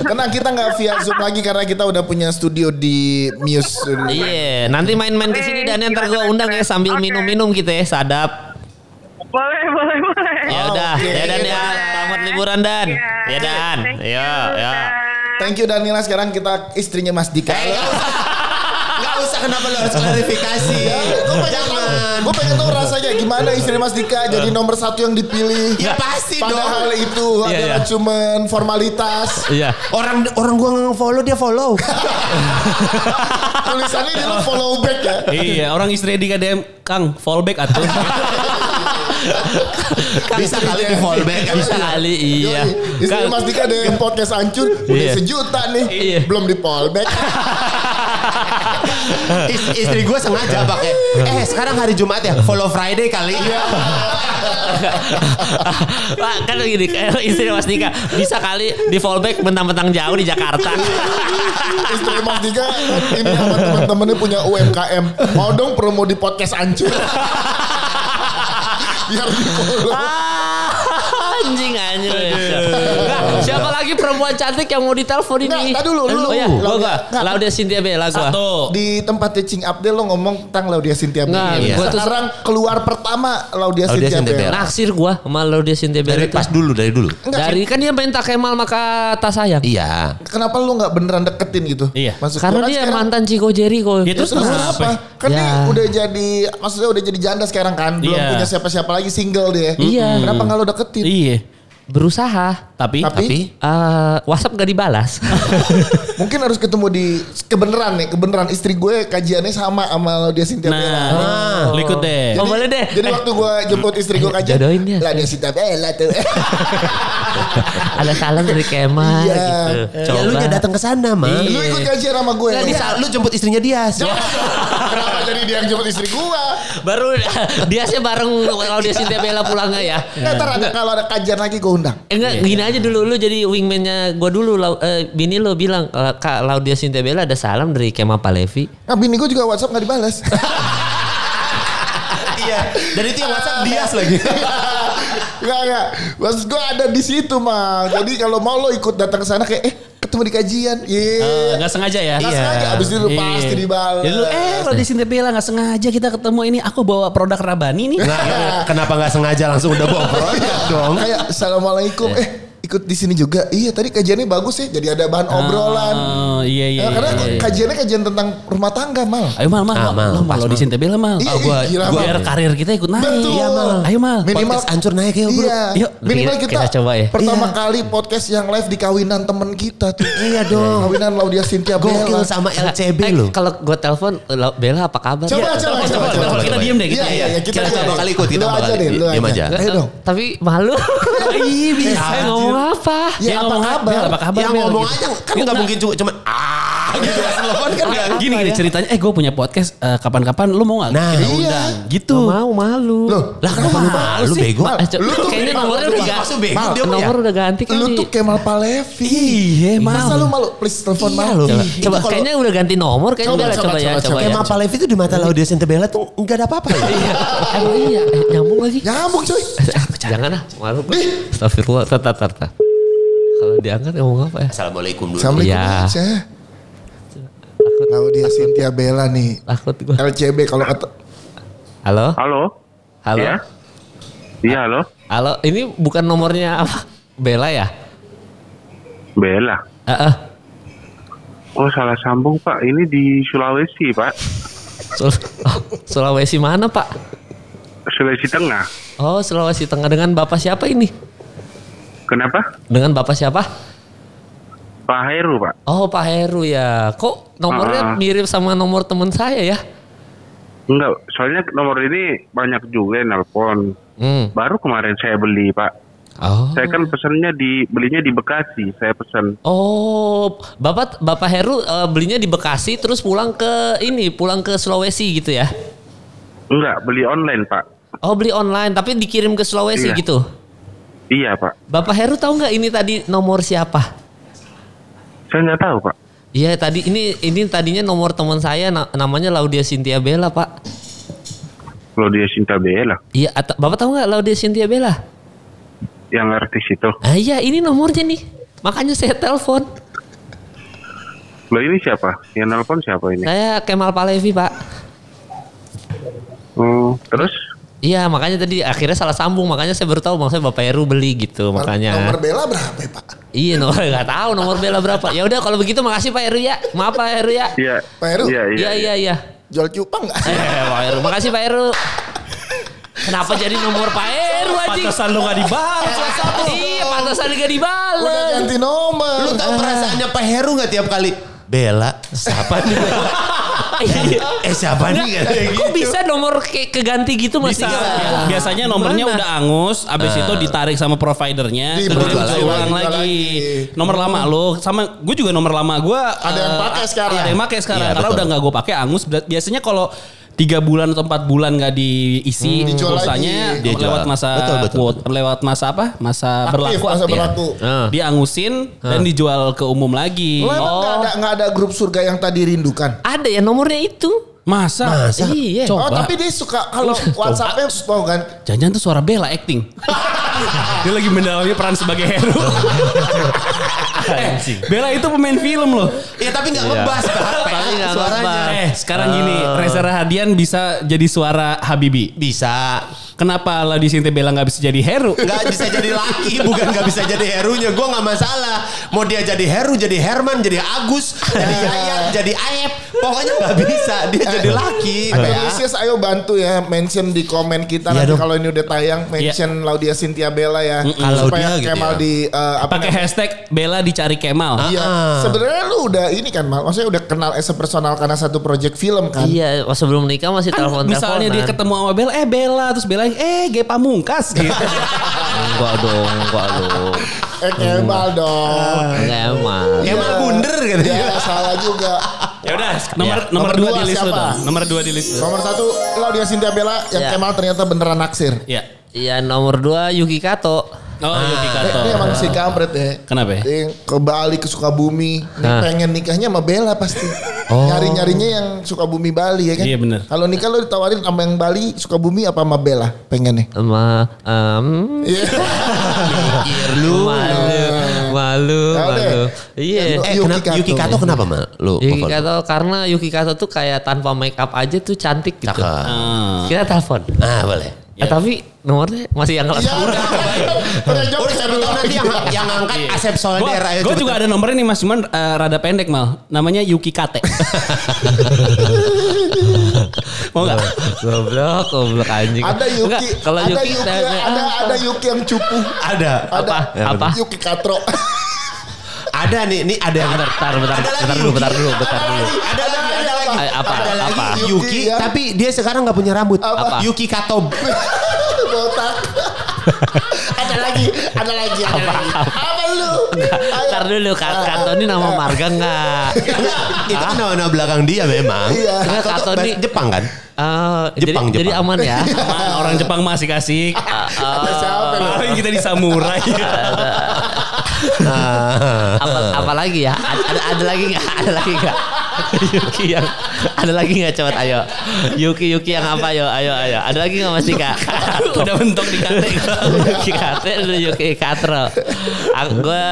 [SPEAKER 1] Tenang, kita nggak via Zoom lagi karena kita udah punya studio di Muse.
[SPEAKER 4] Iya, nanti main-main ke sini dan ntar gue undang ya sambil
[SPEAKER 5] Oke.
[SPEAKER 4] minum-minum gitu ya, sadap.
[SPEAKER 5] boleh boleh boleh
[SPEAKER 4] Ya udah,
[SPEAKER 1] Oke.
[SPEAKER 4] ya Dan ya. Selamat liburan Dan.
[SPEAKER 5] Iya.
[SPEAKER 4] Ya Dan.
[SPEAKER 5] Thank you,
[SPEAKER 4] Ya, ya.
[SPEAKER 5] Dan.
[SPEAKER 1] Thank you Danila sekarang kita istrinya Mas Dika.
[SPEAKER 3] Gak usah kenapa lo harus klarifikasi.
[SPEAKER 1] Ya,
[SPEAKER 3] Jangan. Iya.
[SPEAKER 1] Gue pengen tahu rasanya gimana istri Mas Dika jadi nomor satu yang dipilih.
[SPEAKER 3] Ya pasti
[SPEAKER 1] Padahal
[SPEAKER 3] dong.
[SPEAKER 1] itu
[SPEAKER 4] Iya,
[SPEAKER 1] adalah
[SPEAKER 4] iya.
[SPEAKER 1] cuman formalitas.
[SPEAKER 4] Iya.
[SPEAKER 3] Orang orang gua nge-follow dia follow.
[SPEAKER 1] Tulisannya di lu follow back ya.
[SPEAKER 2] Iya, orang istri di KDM Kang fallback atuh.
[SPEAKER 1] Iya.
[SPEAKER 3] Bisa kali di follow back.
[SPEAKER 4] Bisa kali iya.
[SPEAKER 1] Yoi, Istri
[SPEAKER 4] Kang,
[SPEAKER 1] Mas Dika ada yang podcast hancur. Udah
[SPEAKER 4] Iya.
[SPEAKER 1] sejuta nih.
[SPEAKER 4] Iya.
[SPEAKER 1] Belum di follow back.
[SPEAKER 3] Is- istri gue sengaja pakai. Eh sekarang hari Jumat ya, follow Friday kali.
[SPEAKER 4] Pak, kan gini, eh, istri Mas Dika bisa kali di fallback bentang-bentang jauh di Jakarta.
[SPEAKER 1] istri Mas Dika ini sama teman-temannya punya UMKM. Mau dong promo di podcast hancur. Biar di follow.
[SPEAKER 4] Ah, anjing anjing. Nah, siapa lagi perempuan cantik yang mau ditelepon ini?
[SPEAKER 1] Nggak, ntar dulu, lu.
[SPEAKER 4] Oh ya, gua gua.
[SPEAKER 1] Nggak.
[SPEAKER 4] Laudia Cynthia Bella gua.
[SPEAKER 2] Satu.
[SPEAKER 1] di tempat teaching up lo ngomong tentang Laudia Cynthia
[SPEAKER 4] Nggak,
[SPEAKER 1] Bella.
[SPEAKER 4] iya. gua tuh-
[SPEAKER 1] Sekarang keluar pertama Laudia, Cynthia,
[SPEAKER 6] Laudia Cynthia
[SPEAKER 1] Bella.
[SPEAKER 6] Bella.
[SPEAKER 4] Naksir gua sama Laudia Cynthia Bella.
[SPEAKER 6] Dari pas dulu, dari dulu.
[SPEAKER 1] Enggak,
[SPEAKER 4] Dari kan dia main tak Kemal maka tak sayang.
[SPEAKER 6] Iya.
[SPEAKER 1] Kenapa lu nggak beneran deketin gitu?
[SPEAKER 2] Iya.
[SPEAKER 1] Maksud gua
[SPEAKER 4] Karena
[SPEAKER 1] kan
[SPEAKER 4] dia
[SPEAKER 1] sekarang-
[SPEAKER 4] mantan Chico Jericho.
[SPEAKER 2] Ya, terus
[SPEAKER 1] Terus
[SPEAKER 2] kenapa?
[SPEAKER 1] kenapa? Kan dia
[SPEAKER 4] Ya.
[SPEAKER 1] udah jadi maksudnya udah jadi janda sekarang kan, belum
[SPEAKER 2] Iya.
[SPEAKER 1] punya siapa-siapa lagi, single dia.
[SPEAKER 4] Iya.
[SPEAKER 1] Kenapa nggak lo deketin?
[SPEAKER 2] Iya.
[SPEAKER 4] berusaha.
[SPEAKER 1] Tapi,
[SPEAKER 2] Tapi,
[SPEAKER 6] Tapi
[SPEAKER 4] Eh, WhatsApp gak dibalas.
[SPEAKER 1] mungkin harus ketemu di kebenaran nih, kebenaran istri gue kajiannya sama sama Laudia Cynthia Bella.
[SPEAKER 2] nah, oh. ikut deh.
[SPEAKER 4] Oh, boleh deh.
[SPEAKER 1] Jadi
[SPEAKER 4] Eh.
[SPEAKER 1] waktu gue jemput istri gue kajian,
[SPEAKER 4] Jodohin dia.
[SPEAKER 1] Laudia Cynthia Bella tuh.
[SPEAKER 4] Ada salam dari
[SPEAKER 1] Iya.
[SPEAKER 4] Kemal gitu.
[SPEAKER 3] Ya lu nya datang ke sana, Ma.
[SPEAKER 1] Lu ikut kajian sama gue.
[SPEAKER 3] Nggak, Iya. dia- lu jemput istrinya dia.
[SPEAKER 1] Kenapa jadi dia yang jemput istri gua?
[SPEAKER 4] Baru dia sih bareng kalau dia Cynthia Bella pulang nggak ya?
[SPEAKER 1] Ntar ada kalau ada kajian lagi gua undang.
[SPEAKER 4] Eh, Enggak,
[SPEAKER 2] Iya.
[SPEAKER 4] gini aja dulu lu jadi wingman-nya gua dulu Lau- eh, bini lo bilang eh, Kak Laudia Cynthia Bella ada salam dari Kemal Palevi.
[SPEAKER 1] Nah bini gua juga WhatsApp nggak dibalas.
[SPEAKER 3] Iya. Dan itu yang WhatsApp dia lagi.
[SPEAKER 1] Enggak enggak. Ah. Maksud gua ada di situ mah. Jadi kalau mau lo ikut datang ke sana kayak eh ketemu di kajian. Iya.
[SPEAKER 2] Eh,
[SPEAKER 3] Ah,
[SPEAKER 2] nggak sengaja ya. Iya.
[SPEAKER 1] Nggak sengaja, abis itu pasti dibalas.
[SPEAKER 2] Jadi lu, eh kalau di sini Bella nggak sengaja kita ketemu ini, aku bawa produk Rabani nih.
[SPEAKER 1] Iya.
[SPEAKER 3] kenapa nggak sengaja langsung udah bawa produk ya, dong? Iya.
[SPEAKER 1] Kayak assalamualaikum. Eh ikut di sini juga. Iya tadi kajiannya bagus ya. Jadi ada bahan
[SPEAKER 3] Ah,
[SPEAKER 1] obrolan.
[SPEAKER 2] Oh, iya iya.
[SPEAKER 1] Nah, karena
[SPEAKER 2] iya, iya.
[SPEAKER 1] kajiannya kajian tentang rumah tangga mal.
[SPEAKER 2] Ayo mal mal,
[SPEAKER 3] Ah, Mal,
[SPEAKER 2] mal, mal,
[SPEAKER 3] pas,
[SPEAKER 2] lo
[SPEAKER 3] Mal.
[SPEAKER 2] di sini Bella mal.
[SPEAKER 1] Iya,
[SPEAKER 2] Oh,
[SPEAKER 1] iya, gila, Mal.
[SPEAKER 2] biar karir kita ikut naik.
[SPEAKER 1] Betul.
[SPEAKER 2] Iya, Mal. Ayo mal.
[SPEAKER 1] Minimal
[SPEAKER 3] Podcast hancur naik ya, Bro.
[SPEAKER 1] Iya.
[SPEAKER 2] Yuk, Iya.
[SPEAKER 1] minimal
[SPEAKER 4] kita-
[SPEAKER 1] kita,
[SPEAKER 4] kita coba ya.
[SPEAKER 1] Pertama kali podcast yang live di kawinan temen kita tuh. iya dong. Kawinan Laudia Cynthia
[SPEAKER 3] Gokil
[SPEAKER 1] Bella.
[SPEAKER 2] Iya,
[SPEAKER 3] sama LCB
[SPEAKER 4] Eh,
[SPEAKER 3] lo.
[SPEAKER 4] Kalau gua telepon "Lau- Bella apa kabar?
[SPEAKER 1] Coba,
[SPEAKER 4] Ya,
[SPEAKER 1] coba, coba,
[SPEAKER 2] Coba,
[SPEAKER 1] coba.
[SPEAKER 2] kita diem deh, kita
[SPEAKER 1] Iya, iya, iya, kita,
[SPEAKER 6] kita
[SPEAKER 1] diem.
[SPEAKER 6] bakal ikut, kita
[SPEAKER 1] Lu
[SPEAKER 6] bakal
[SPEAKER 1] aja deh,
[SPEAKER 6] ikut.
[SPEAKER 1] lu
[SPEAKER 6] Diem
[SPEAKER 1] aja.
[SPEAKER 6] aja.
[SPEAKER 1] Ayo dong.
[SPEAKER 4] Tapi malu. Iya bisa. Saya ngomong apa?
[SPEAKER 1] Ya,
[SPEAKER 2] Dia
[SPEAKER 1] apa
[SPEAKER 2] ngomong,
[SPEAKER 1] kabar?
[SPEAKER 2] Bel, apa kabar?
[SPEAKER 3] Yang
[SPEAKER 2] Bel?"
[SPEAKER 3] ngomong
[SPEAKER 2] gitu.
[SPEAKER 3] aja kan nggak mungkin cuma cuman ah gitu pas telepon kan nggak.
[SPEAKER 2] Gini
[SPEAKER 1] ya.
[SPEAKER 2] gini ceritanya, eh gue punya podcast eh, kapan-kapan, lu mau nggak?
[SPEAKER 3] Nah,
[SPEAKER 2] Kita
[SPEAKER 1] iya.
[SPEAKER 2] undang. gitu.
[SPEAKER 4] Nggak mau malu.
[SPEAKER 1] Loh,
[SPEAKER 4] lah kenapa lu malu
[SPEAKER 6] lu
[SPEAKER 4] sih?
[SPEAKER 6] bego.
[SPEAKER 4] Ma- co-
[SPEAKER 1] Lu tuh
[SPEAKER 4] kayaknya
[SPEAKER 1] bego,
[SPEAKER 4] nomornya
[SPEAKER 1] coba.
[SPEAKER 4] udah ganti.
[SPEAKER 3] Masuk bego dia mah ya.
[SPEAKER 4] Nomor udah ganti kali.
[SPEAKER 1] Lu tuh Kemal Palevi.
[SPEAKER 2] Iya, Mal.
[SPEAKER 1] Masa lu malu? Please telepon
[SPEAKER 4] Iya,
[SPEAKER 1] Mal.
[SPEAKER 4] lu. Coba,
[SPEAKER 1] Itu
[SPEAKER 4] coba,
[SPEAKER 1] kalau-
[SPEAKER 4] kayaknya udah ganti nomor kayaknya
[SPEAKER 1] Coba,
[SPEAKER 4] udah lah,
[SPEAKER 1] coba,
[SPEAKER 4] coba, ya
[SPEAKER 1] coba,
[SPEAKER 4] coba,
[SPEAKER 1] coba.
[SPEAKER 3] Nah, Kayak
[SPEAKER 4] ya.
[SPEAKER 3] Mapa Levi itu di mata Laudia Sintebella tuh nggak ada apa-apa ya.
[SPEAKER 4] Emang iya, eh, nyambung lagi.
[SPEAKER 1] Nyambung coy.
[SPEAKER 4] Jangan ah, malu. Astagfirullah, tata tata. Kalau diangkat ngomong apa ya?
[SPEAKER 6] Assalamualaikum dulu.
[SPEAKER 1] Assalamualaikum
[SPEAKER 4] Iya.
[SPEAKER 1] aja. Laudia Cynthia Bella nih.
[SPEAKER 4] Takut gua.
[SPEAKER 1] LCB kalau kata
[SPEAKER 4] Halo?
[SPEAKER 5] Halo.
[SPEAKER 4] Halo?
[SPEAKER 5] Iya. Iya, halo.
[SPEAKER 4] Halo, ini bukan nomornya apa? Bella ya? Eh,
[SPEAKER 5] Bella.
[SPEAKER 4] Heeh.
[SPEAKER 5] Oh, salah sambung, Pak. Ini di Sulawesi, Pak.
[SPEAKER 4] Sul- oh, Sulawesi mana, Pak?
[SPEAKER 5] Sulawesi Tengah.
[SPEAKER 4] Oh, Sulawesi Tengah dengan Bapak siapa ini?
[SPEAKER 5] Kenapa?
[SPEAKER 4] Dengan Bapak siapa?
[SPEAKER 5] Pak Heru, Pak.
[SPEAKER 4] Oh Pak Heru ya, kok nomornya
[SPEAKER 5] Ah.
[SPEAKER 4] mirip sama nomor teman saya ya?
[SPEAKER 5] Enggak, soalnya nomor ini banyak juga yang nelpon.
[SPEAKER 4] Hmm.
[SPEAKER 5] Baru kemarin saya beli, Pak.
[SPEAKER 4] Oh.
[SPEAKER 5] Saya kan pesennya di belinya di Bekasi. Saya pesen.
[SPEAKER 4] Oh, Bapak Bapak Heru eh, belinya di Bekasi terus pulang ke ini, pulang ke Sulawesi gitu ya.
[SPEAKER 5] Enggak, beli online, Pak.
[SPEAKER 4] Oh, beli online tapi dikirim ke Sulawesi
[SPEAKER 5] Iya.
[SPEAKER 4] gitu.
[SPEAKER 5] Iya, Pak.
[SPEAKER 4] Bapak Heru tahu nggak ini tadi nomor siapa?
[SPEAKER 5] Saya nggak tahu, Pak.
[SPEAKER 4] Iya, tadi ini ini tadinya nomor teman saya na- namanya Laudia Cynthia Bella, Pak.
[SPEAKER 5] Kalau dia Sinta Bella,
[SPEAKER 4] Iya, atau- Bapak tahu nggak Laudia Cynthia Bella?
[SPEAKER 5] yang artis itu.
[SPEAKER 4] Ah iya, ini nomornya nih. Makanya saya telepon.
[SPEAKER 5] Lo ini siapa? Yang nelpon siapa ini?
[SPEAKER 4] Saya Kemal Palevi, Pak.
[SPEAKER 5] Oh, terus?
[SPEAKER 4] Iya makanya tadi akhirnya salah sambung makanya saya baru tahu maksudnya Bapak Heru beli gitu makanya.
[SPEAKER 1] Nomor bela berapa ya, Pak?
[SPEAKER 4] Iya nomor nggak tahu nomor bela berapa. Ya udah kalau begitu makasih Pak Heru ya. Maaf Pak Heru ya.
[SPEAKER 6] Iya.
[SPEAKER 1] Pak Heru?
[SPEAKER 6] Iya, iya.
[SPEAKER 4] Iya iya iya.
[SPEAKER 1] Jual cupang nggak?
[SPEAKER 4] Eh, Pak Heru makasih Pak Heru. Kenapa jadi nomor Pak Heru Eh, anjing? Eh,
[SPEAKER 2] Pantesan lu gak dibales.
[SPEAKER 4] Iya pantesan gak dibales.
[SPEAKER 1] Udah ganti nomor.
[SPEAKER 3] Lu
[SPEAKER 4] Ah.
[SPEAKER 3] tahu perasaannya Pak Heru nggak tiap kali? Bella, siapa nih?
[SPEAKER 4] Iya.
[SPEAKER 3] eh siapa nih? Kayak gitu.
[SPEAKER 4] Kok bisa nomor ke keganti gitu masih?
[SPEAKER 2] Bisa.
[SPEAKER 4] nggak?
[SPEAKER 2] Biasanya nomornya
[SPEAKER 4] Gimana?
[SPEAKER 2] udah angus, abis itu ditarik sama providernya,
[SPEAKER 1] Di-
[SPEAKER 2] terus
[SPEAKER 1] dijual
[SPEAKER 2] dijual
[SPEAKER 1] lagi,
[SPEAKER 2] ulang
[SPEAKER 1] dijual
[SPEAKER 2] lagi.
[SPEAKER 1] lagi.
[SPEAKER 2] Nomor lama lo, sama gue juga nomor lama gue.
[SPEAKER 1] Ada yang pakai sekarang.
[SPEAKER 2] Ada yang pakai sekarang,
[SPEAKER 3] Iya,
[SPEAKER 2] karena
[SPEAKER 3] betul.
[SPEAKER 2] udah nggak gue pakai angus. Ber- Biasanya kalau tiga bulan atau empat bulan nggak
[SPEAKER 1] Hmm,
[SPEAKER 2] diisi
[SPEAKER 1] dijual
[SPEAKER 2] pulsanya
[SPEAKER 1] lagi.
[SPEAKER 3] Dia
[SPEAKER 2] lewat
[SPEAKER 3] jual.
[SPEAKER 2] masa
[SPEAKER 3] Betul, betul,
[SPEAKER 2] quote- lewat masa apa Iya. masa
[SPEAKER 1] Aktif,
[SPEAKER 2] berlaku
[SPEAKER 1] masa
[SPEAKER 2] aktif.
[SPEAKER 1] berlaku.
[SPEAKER 4] Ah.
[SPEAKER 2] diangusin dan dijual ke umum lagi Oh.
[SPEAKER 1] Lu emang nggak ada nggak ada grup surga yang tadi rindukan?
[SPEAKER 4] Ada ya nomornya itu.
[SPEAKER 2] masa,
[SPEAKER 4] Iya.
[SPEAKER 1] Oh
[SPEAKER 2] coba
[SPEAKER 1] tapi dia suka kalau WhatsAppnya tau kan?
[SPEAKER 2] jangan-jangan tuh suara Bella acting dia lagi mendalami peran sebagai hero Eh, Bella itu pemain film loh
[SPEAKER 3] Ya tapi nggak ngebas Pak.
[SPEAKER 4] Tapi nggak Oh.
[SPEAKER 3] Suaranya.
[SPEAKER 4] ngebas.
[SPEAKER 2] eh sekarang gini Reza Rahadian bisa jadi suara Habibi
[SPEAKER 3] Bisa.
[SPEAKER 2] kenapa Ladi Sinta Bella nggak bisa jadi hero
[SPEAKER 3] Nggak bisa jadi laki, bukan nggak bisa jadi Herunya. Gue nggak masalah. Mau dia jadi Heru, jadi Herman, jadi Agus, jadi Ayat, jadi Ayep. Pokoknya nggak bisa. Dia jadi laki.
[SPEAKER 1] Atau
[SPEAKER 3] Ya.
[SPEAKER 1] Lucius, ayo bantu ya mention di komen kita
[SPEAKER 3] Iya
[SPEAKER 1] nanti
[SPEAKER 3] dong.
[SPEAKER 1] kalau ini udah tayang mention Laudia Cynthia Bella ya
[SPEAKER 3] Kalau
[SPEAKER 1] supaya
[SPEAKER 3] dia gitu
[SPEAKER 1] Kemal
[SPEAKER 3] ya.
[SPEAKER 1] di eh, apa
[SPEAKER 2] pakai hashtag Bella dicari Kemal
[SPEAKER 1] Iya,
[SPEAKER 3] Ah.
[SPEAKER 1] sebenarnya lu udah ini kan, Mal. Maksudnya udah kenal as a personal karena satu project film kan.
[SPEAKER 4] Iya, pas sebelum nikah masih
[SPEAKER 2] Kan
[SPEAKER 4] telepon
[SPEAKER 2] misalnya dia ketemu sama Bella eh Bella terus Bella eh Ge Pamungkas gitu
[SPEAKER 4] enggak dong, enggak dong.
[SPEAKER 1] Eh Kemal dong.
[SPEAKER 4] Enggak emang.
[SPEAKER 3] Emang bunder gitu
[SPEAKER 1] Iya,
[SPEAKER 3] ya.
[SPEAKER 1] salah juga.
[SPEAKER 2] ya udah
[SPEAKER 4] Iya.
[SPEAKER 2] nomor
[SPEAKER 1] Nomor
[SPEAKER 2] nomor dua
[SPEAKER 1] dua
[SPEAKER 2] di list lu
[SPEAKER 1] siapa?
[SPEAKER 2] dong nomor dua di list lu
[SPEAKER 1] Nomor satu Laudia Cynthia Bella yang
[SPEAKER 4] Iya.
[SPEAKER 1] Kemal ternyata beneran naksir.
[SPEAKER 2] ya
[SPEAKER 4] Iya, nomor dua Yuki Kato.
[SPEAKER 2] oh Yuki
[SPEAKER 1] Eh,
[SPEAKER 2] Kato
[SPEAKER 1] Ini emang si kampret ya.
[SPEAKER 2] Kenapa ya?
[SPEAKER 1] Dia ke Bali ke Sukabumi, Ini
[SPEAKER 4] Nah.
[SPEAKER 1] pengen nikahnya sama Bella pasti. Nyari nyarinya yang Sukabumi Bali ya kan?
[SPEAKER 2] Iya, bener.
[SPEAKER 1] Kalau nikah lo ditawarin sama yang Bali Sukabumi apa sama Bella pengennya?
[SPEAKER 4] Sama em
[SPEAKER 1] Iya.
[SPEAKER 3] Iya,
[SPEAKER 4] lu malu, malu,
[SPEAKER 1] Ya udah.
[SPEAKER 4] malu. Iya.
[SPEAKER 1] Eh,
[SPEAKER 3] Eh, kenapa-
[SPEAKER 1] Yuki Kato.
[SPEAKER 3] Yuki Kato kenapa, Mal? Lu
[SPEAKER 4] Yuki
[SPEAKER 3] follow.
[SPEAKER 4] Kato karena Yuki Kato tuh kayak tanpa make up aja tuh cantik gitu.
[SPEAKER 3] Cakep.
[SPEAKER 2] Ah.
[SPEAKER 4] Kita telepon.
[SPEAKER 3] Ah, boleh.
[SPEAKER 4] Eh, tapi nomornya masih yang
[SPEAKER 1] Iya.
[SPEAKER 4] kelas satu.
[SPEAKER 1] Udah jawab
[SPEAKER 3] Udah siapa tahu nanti yang yang angkat
[SPEAKER 4] Iya.
[SPEAKER 3] Asep Solder ayo
[SPEAKER 2] Gue juga ada nomornya nih mas, cuman eh, rada pendek mal. Namanya Yuki Kate. Mau nggak?
[SPEAKER 4] Goblok, goblok anjing.
[SPEAKER 1] Ada Yuki,
[SPEAKER 4] Enggak, kalau
[SPEAKER 1] ada
[SPEAKER 4] Yuki,
[SPEAKER 1] Yuki, ada ada Yuki yang cupu.
[SPEAKER 3] ada
[SPEAKER 1] Ada
[SPEAKER 4] Apa? Apa? Eh,
[SPEAKER 1] Yuki Katro.
[SPEAKER 3] ada nih ini ada yang
[SPEAKER 4] Bentar, bentar, bentar,
[SPEAKER 3] Ada lagi,
[SPEAKER 4] bentar dulu,
[SPEAKER 3] Yuki.
[SPEAKER 4] bentar dulu, bentar
[SPEAKER 3] Ada
[SPEAKER 4] dulu.
[SPEAKER 3] lagi, Ada lagi, ada lagi.
[SPEAKER 4] Eh, apa,
[SPEAKER 3] Ada lagi
[SPEAKER 4] apa?
[SPEAKER 3] Yuki,
[SPEAKER 1] Yuki, ya.
[SPEAKER 3] tapi dia sekarang nggak punya rambut.
[SPEAKER 1] Apa?
[SPEAKER 3] Yuki Katob.
[SPEAKER 1] Botak. ada lagi, ada lagi, ada lagi.
[SPEAKER 3] Iya.
[SPEAKER 1] Apa lu? Ayo.
[SPEAKER 4] Bentar dulu, Ka-
[SPEAKER 1] Ah,
[SPEAKER 4] Kato ini nama marga enggak?
[SPEAKER 3] itu kan nama-nama belakang dia memang.
[SPEAKER 1] Iya.
[SPEAKER 3] Katob tuh
[SPEAKER 4] Kato
[SPEAKER 3] bahasa
[SPEAKER 4] nih-
[SPEAKER 3] Jepang kan?
[SPEAKER 4] Eh, jadi,
[SPEAKER 3] Jepang,
[SPEAKER 4] jadi
[SPEAKER 3] Jepang.
[SPEAKER 4] aman ya.
[SPEAKER 2] Aman, Ah, orang Jepang masih kasih.
[SPEAKER 1] Ada siapa lu?
[SPEAKER 2] Kemarin kita di samurai.
[SPEAKER 4] Apa, apa lagi ya? Ada, ada, ada lagi nggak? Ada lagi nggak? Yuki yang ada lagi nggak coba ayo Yuki Yuki yang apa yo ayo ayo ada lagi nggak masih kak
[SPEAKER 2] Udah mentok di Kate.
[SPEAKER 4] Yuki Kate udah Yuki Katro aku gue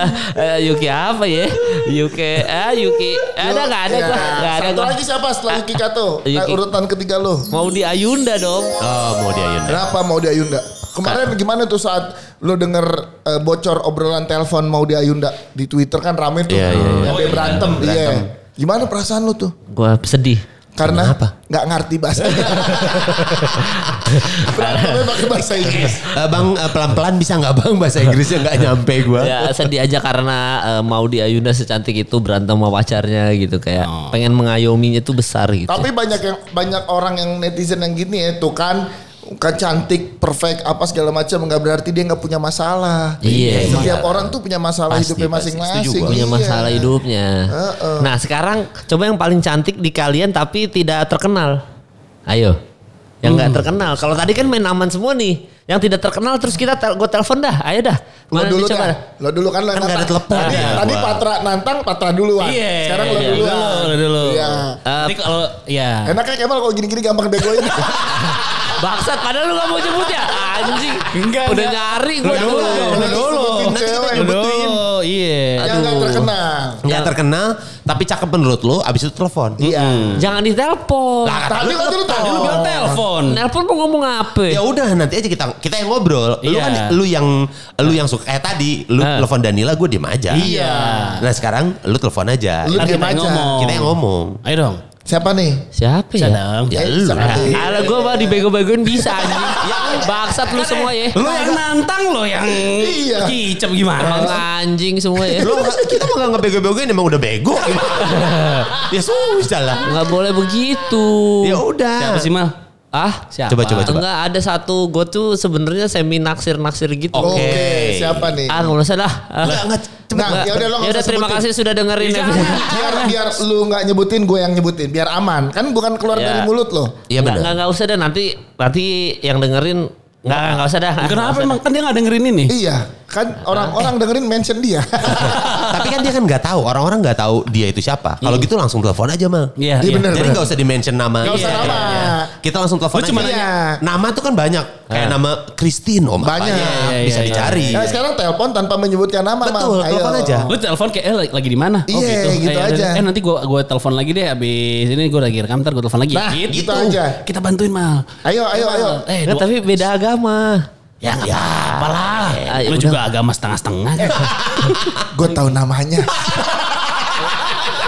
[SPEAKER 4] Yuki apa ya Yuki ah Yuki ada nggak ada
[SPEAKER 1] Ya.
[SPEAKER 4] gue nggak ada
[SPEAKER 1] Satu
[SPEAKER 4] gue
[SPEAKER 1] lagi siapa setelah Yuki Kato? Nah,
[SPEAKER 4] Yuki.
[SPEAKER 1] urutan ketiga lu.
[SPEAKER 4] mau di Ayunda dong
[SPEAKER 3] Oh, mau dia Yunda.
[SPEAKER 1] Kenapa mau di Ayunda? Kemarin gimana tuh saat lu denger eh, bocor obrolan telepon mau di Ayunda di Twitter kan rame tuh.
[SPEAKER 3] Iya, iya, iya.
[SPEAKER 1] Sampai berantem. Iya. Gimana perasaan lu tuh?
[SPEAKER 4] gue sedih
[SPEAKER 1] Karena
[SPEAKER 3] Kenapa?
[SPEAKER 1] nggak ngerti bahasa. Berantemnya pakai bahasa Inggris.
[SPEAKER 3] Eh, bang eh, pelan-pelan bisa nggak bang bahasa Inggrisnya nggak nyampe gua.
[SPEAKER 4] ya sedih aja karena eh, mau di Ayunda secantik itu berantem sama pacarnya gitu kayak
[SPEAKER 2] Oh.
[SPEAKER 4] pengen mengayominya tuh besar gitu
[SPEAKER 1] Tapi banyak yang banyak orang yang netizen yang gini ya tuh kan kan cantik, perfect, apa segala macam nggak berarti dia nggak punya masalah.
[SPEAKER 4] Iya.
[SPEAKER 1] Setiap orang tuh punya masalah
[SPEAKER 4] Pasti,
[SPEAKER 1] hidupnya
[SPEAKER 4] pasti.
[SPEAKER 1] masing-masing. Iya.
[SPEAKER 4] punya masalah hidupnya.
[SPEAKER 1] Heeh.
[SPEAKER 4] Nah sekarang coba yang paling cantik di kalian tapi tidak terkenal. Ayo. Yang
[SPEAKER 1] Hmm.
[SPEAKER 4] nggak terkenal. Kalau tadi kan main aman semua nih. Yang tidak terkenal terus kita tel gue telepon dah. Ayo dah.
[SPEAKER 1] Lo
[SPEAKER 4] Mana
[SPEAKER 1] dulu
[SPEAKER 4] nih, coba
[SPEAKER 1] dah.
[SPEAKER 4] dah.
[SPEAKER 1] Lo dulu kan lo yang
[SPEAKER 3] Kan nggak ada
[SPEAKER 1] nantang.
[SPEAKER 3] telepon
[SPEAKER 1] Tadi,
[SPEAKER 3] ya,
[SPEAKER 1] tadi
[SPEAKER 3] gua.
[SPEAKER 1] Patra nantang, Patra duluan.
[SPEAKER 2] Iya.
[SPEAKER 1] Sekarang lo
[SPEAKER 2] iya.
[SPEAKER 1] duluan.
[SPEAKER 2] Dulu, dulu.
[SPEAKER 1] Iya.
[SPEAKER 4] Eh,
[SPEAKER 2] Jadi kalau ya.
[SPEAKER 4] iya.
[SPEAKER 1] Enaknya Kemal kalau gini-gini gampang begoin.
[SPEAKER 4] Bangsat padahal lu gak mau jemput ya. Anjing. Udah
[SPEAKER 2] Enggak, enggak.
[SPEAKER 4] nyari
[SPEAKER 2] Lu
[SPEAKER 4] gue
[SPEAKER 2] dulu,
[SPEAKER 4] dulu.
[SPEAKER 2] lu dulu.
[SPEAKER 1] Disebutin Untuk
[SPEAKER 3] Nanti kita
[SPEAKER 1] cewek.
[SPEAKER 3] nyebutin.
[SPEAKER 2] Aduh, iya.
[SPEAKER 1] Yang gak terkenal.
[SPEAKER 3] Nggak terkenal, tapi cakep menurut lo, abis itu telepon.
[SPEAKER 1] Iya.
[SPEAKER 4] Jangan ditelepon.
[SPEAKER 3] Lah, kata
[SPEAKER 1] Tadi
[SPEAKER 3] lu-
[SPEAKER 1] kan lu
[SPEAKER 2] Tadi lu bilang telepon.
[SPEAKER 4] Nelpon mau ngomong apa?
[SPEAKER 3] Ya udah nanti aja kita kita yang ngobrol. Lu
[SPEAKER 2] Iya.
[SPEAKER 3] kan lu yang lu yang suka kayak tadi lu
[SPEAKER 2] Ah.
[SPEAKER 3] telepon Danila gue diem aja.
[SPEAKER 2] Iya.
[SPEAKER 3] Nah sekarang lu telepon aja.
[SPEAKER 1] Lu
[SPEAKER 2] Ntar
[SPEAKER 1] diam
[SPEAKER 2] kita yang
[SPEAKER 1] aja.
[SPEAKER 2] ngomong.
[SPEAKER 3] Kita yang ngomong.
[SPEAKER 2] Ayo dong.
[SPEAKER 1] Siapa nih?
[SPEAKER 4] Siapa ya?
[SPEAKER 2] Bisa dong.
[SPEAKER 3] Ya
[SPEAKER 1] Eh,
[SPEAKER 3] lu
[SPEAKER 1] sama
[SPEAKER 3] lah.
[SPEAKER 1] dia.
[SPEAKER 4] Kalau gue mah dibego-begoin bisa anjing. ya bangsat lu semua ya.
[SPEAKER 2] Lu yang nantang lo yang
[SPEAKER 1] Iya.
[SPEAKER 2] kicep gimana?
[SPEAKER 4] Emang anjing semua ya.
[SPEAKER 3] Lu kita mah nggak bego-begoin emang udah bego. ya susah lah.
[SPEAKER 4] Enggak boleh begitu.
[SPEAKER 3] Ya udah.
[SPEAKER 2] Siapa sih Mal?
[SPEAKER 4] Ah,
[SPEAKER 2] Siapa?
[SPEAKER 3] Coba coba coba.
[SPEAKER 4] enggak ada satu gue tuh sebenarnya semi naksir-naksir gitu.
[SPEAKER 3] Oke.
[SPEAKER 1] Siapa nih?
[SPEAKER 4] Ah, nggak usah lah. Ah.
[SPEAKER 3] Enggak enggak
[SPEAKER 1] Nah,
[SPEAKER 4] Enggak.
[SPEAKER 1] ya udah lo nggak usah
[SPEAKER 4] terima
[SPEAKER 1] sebutin.
[SPEAKER 4] kasih sudah dengerin
[SPEAKER 2] Iya,
[SPEAKER 4] episode.
[SPEAKER 2] jangan.
[SPEAKER 1] Biar biar lu nggak nyebutin gue yang nyebutin. Biar aman. Kan bukan keluar
[SPEAKER 4] Iya.
[SPEAKER 1] dari mulut lo.
[SPEAKER 3] Iya
[SPEAKER 4] Nggak,
[SPEAKER 3] benar.
[SPEAKER 4] nggak, nggak usah deh nanti nanti yang dengerin nggak nggak usah dah.
[SPEAKER 2] Kenapa
[SPEAKER 4] Nggak usah
[SPEAKER 2] emang kan dia nggak dengerin ini?
[SPEAKER 1] Iya, kan orang-orang dengerin mention dia.
[SPEAKER 3] Tapi kan dia kan nggak tahu, orang-orang nggak tahu dia itu siapa. Kalau gitu langsung telepon aja, Mal.
[SPEAKER 2] Iya,
[SPEAKER 1] Iya,
[SPEAKER 2] iya.
[SPEAKER 1] bener.
[SPEAKER 3] Jadi nggak usah di mention nama.
[SPEAKER 1] Nggak usah
[SPEAKER 3] Iya,
[SPEAKER 1] nama.
[SPEAKER 3] iya. Kita langsung telepon
[SPEAKER 1] Lu cuma
[SPEAKER 3] aja.
[SPEAKER 1] nanya.
[SPEAKER 3] Nama tuh kan banyak. Kayak nama Christine om.
[SPEAKER 1] Banyak.
[SPEAKER 3] apanya.
[SPEAKER 1] Iya,
[SPEAKER 2] iya,
[SPEAKER 3] Bisa
[SPEAKER 2] iya.
[SPEAKER 3] dicari.
[SPEAKER 1] Nah, sekarang telepon tanpa menyebutkan nama.
[SPEAKER 3] Betul,
[SPEAKER 1] Mam. Ayo.
[SPEAKER 3] telepon aja.
[SPEAKER 2] Gue telepon kayak eh, lagi di mana?
[SPEAKER 1] Iya, gitu
[SPEAKER 2] Eh,
[SPEAKER 1] aja.
[SPEAKER 2] Eh nanti gue gue telepon lagi deh abis ini gue lagi rekam ntar gue telepon lagi.
[SPEAKER 1] Nah, gitu aja.
[SPEAKER 2] Kita bantuin Mal.
[SPEAKER 1] Ayo, ayo, ayo.
[SPEAKER 3] Iya,
[SPEAKER 2] Eh
[SPEAKER 4] Nggak,
[SPEAKER 2] dua-
[SPEAKER 4] tapi beda agama.
[SPEAKER 2] ya nggak apa-apa lah.
[SPEAKER 4] Eh,
[SPEAKER 2] Lu
[SPEAKER 4] udah. Eh.
[SPEAKER 2] juga agama setengah-setengah.
[SPEAKER 1] Gue tahu namanya.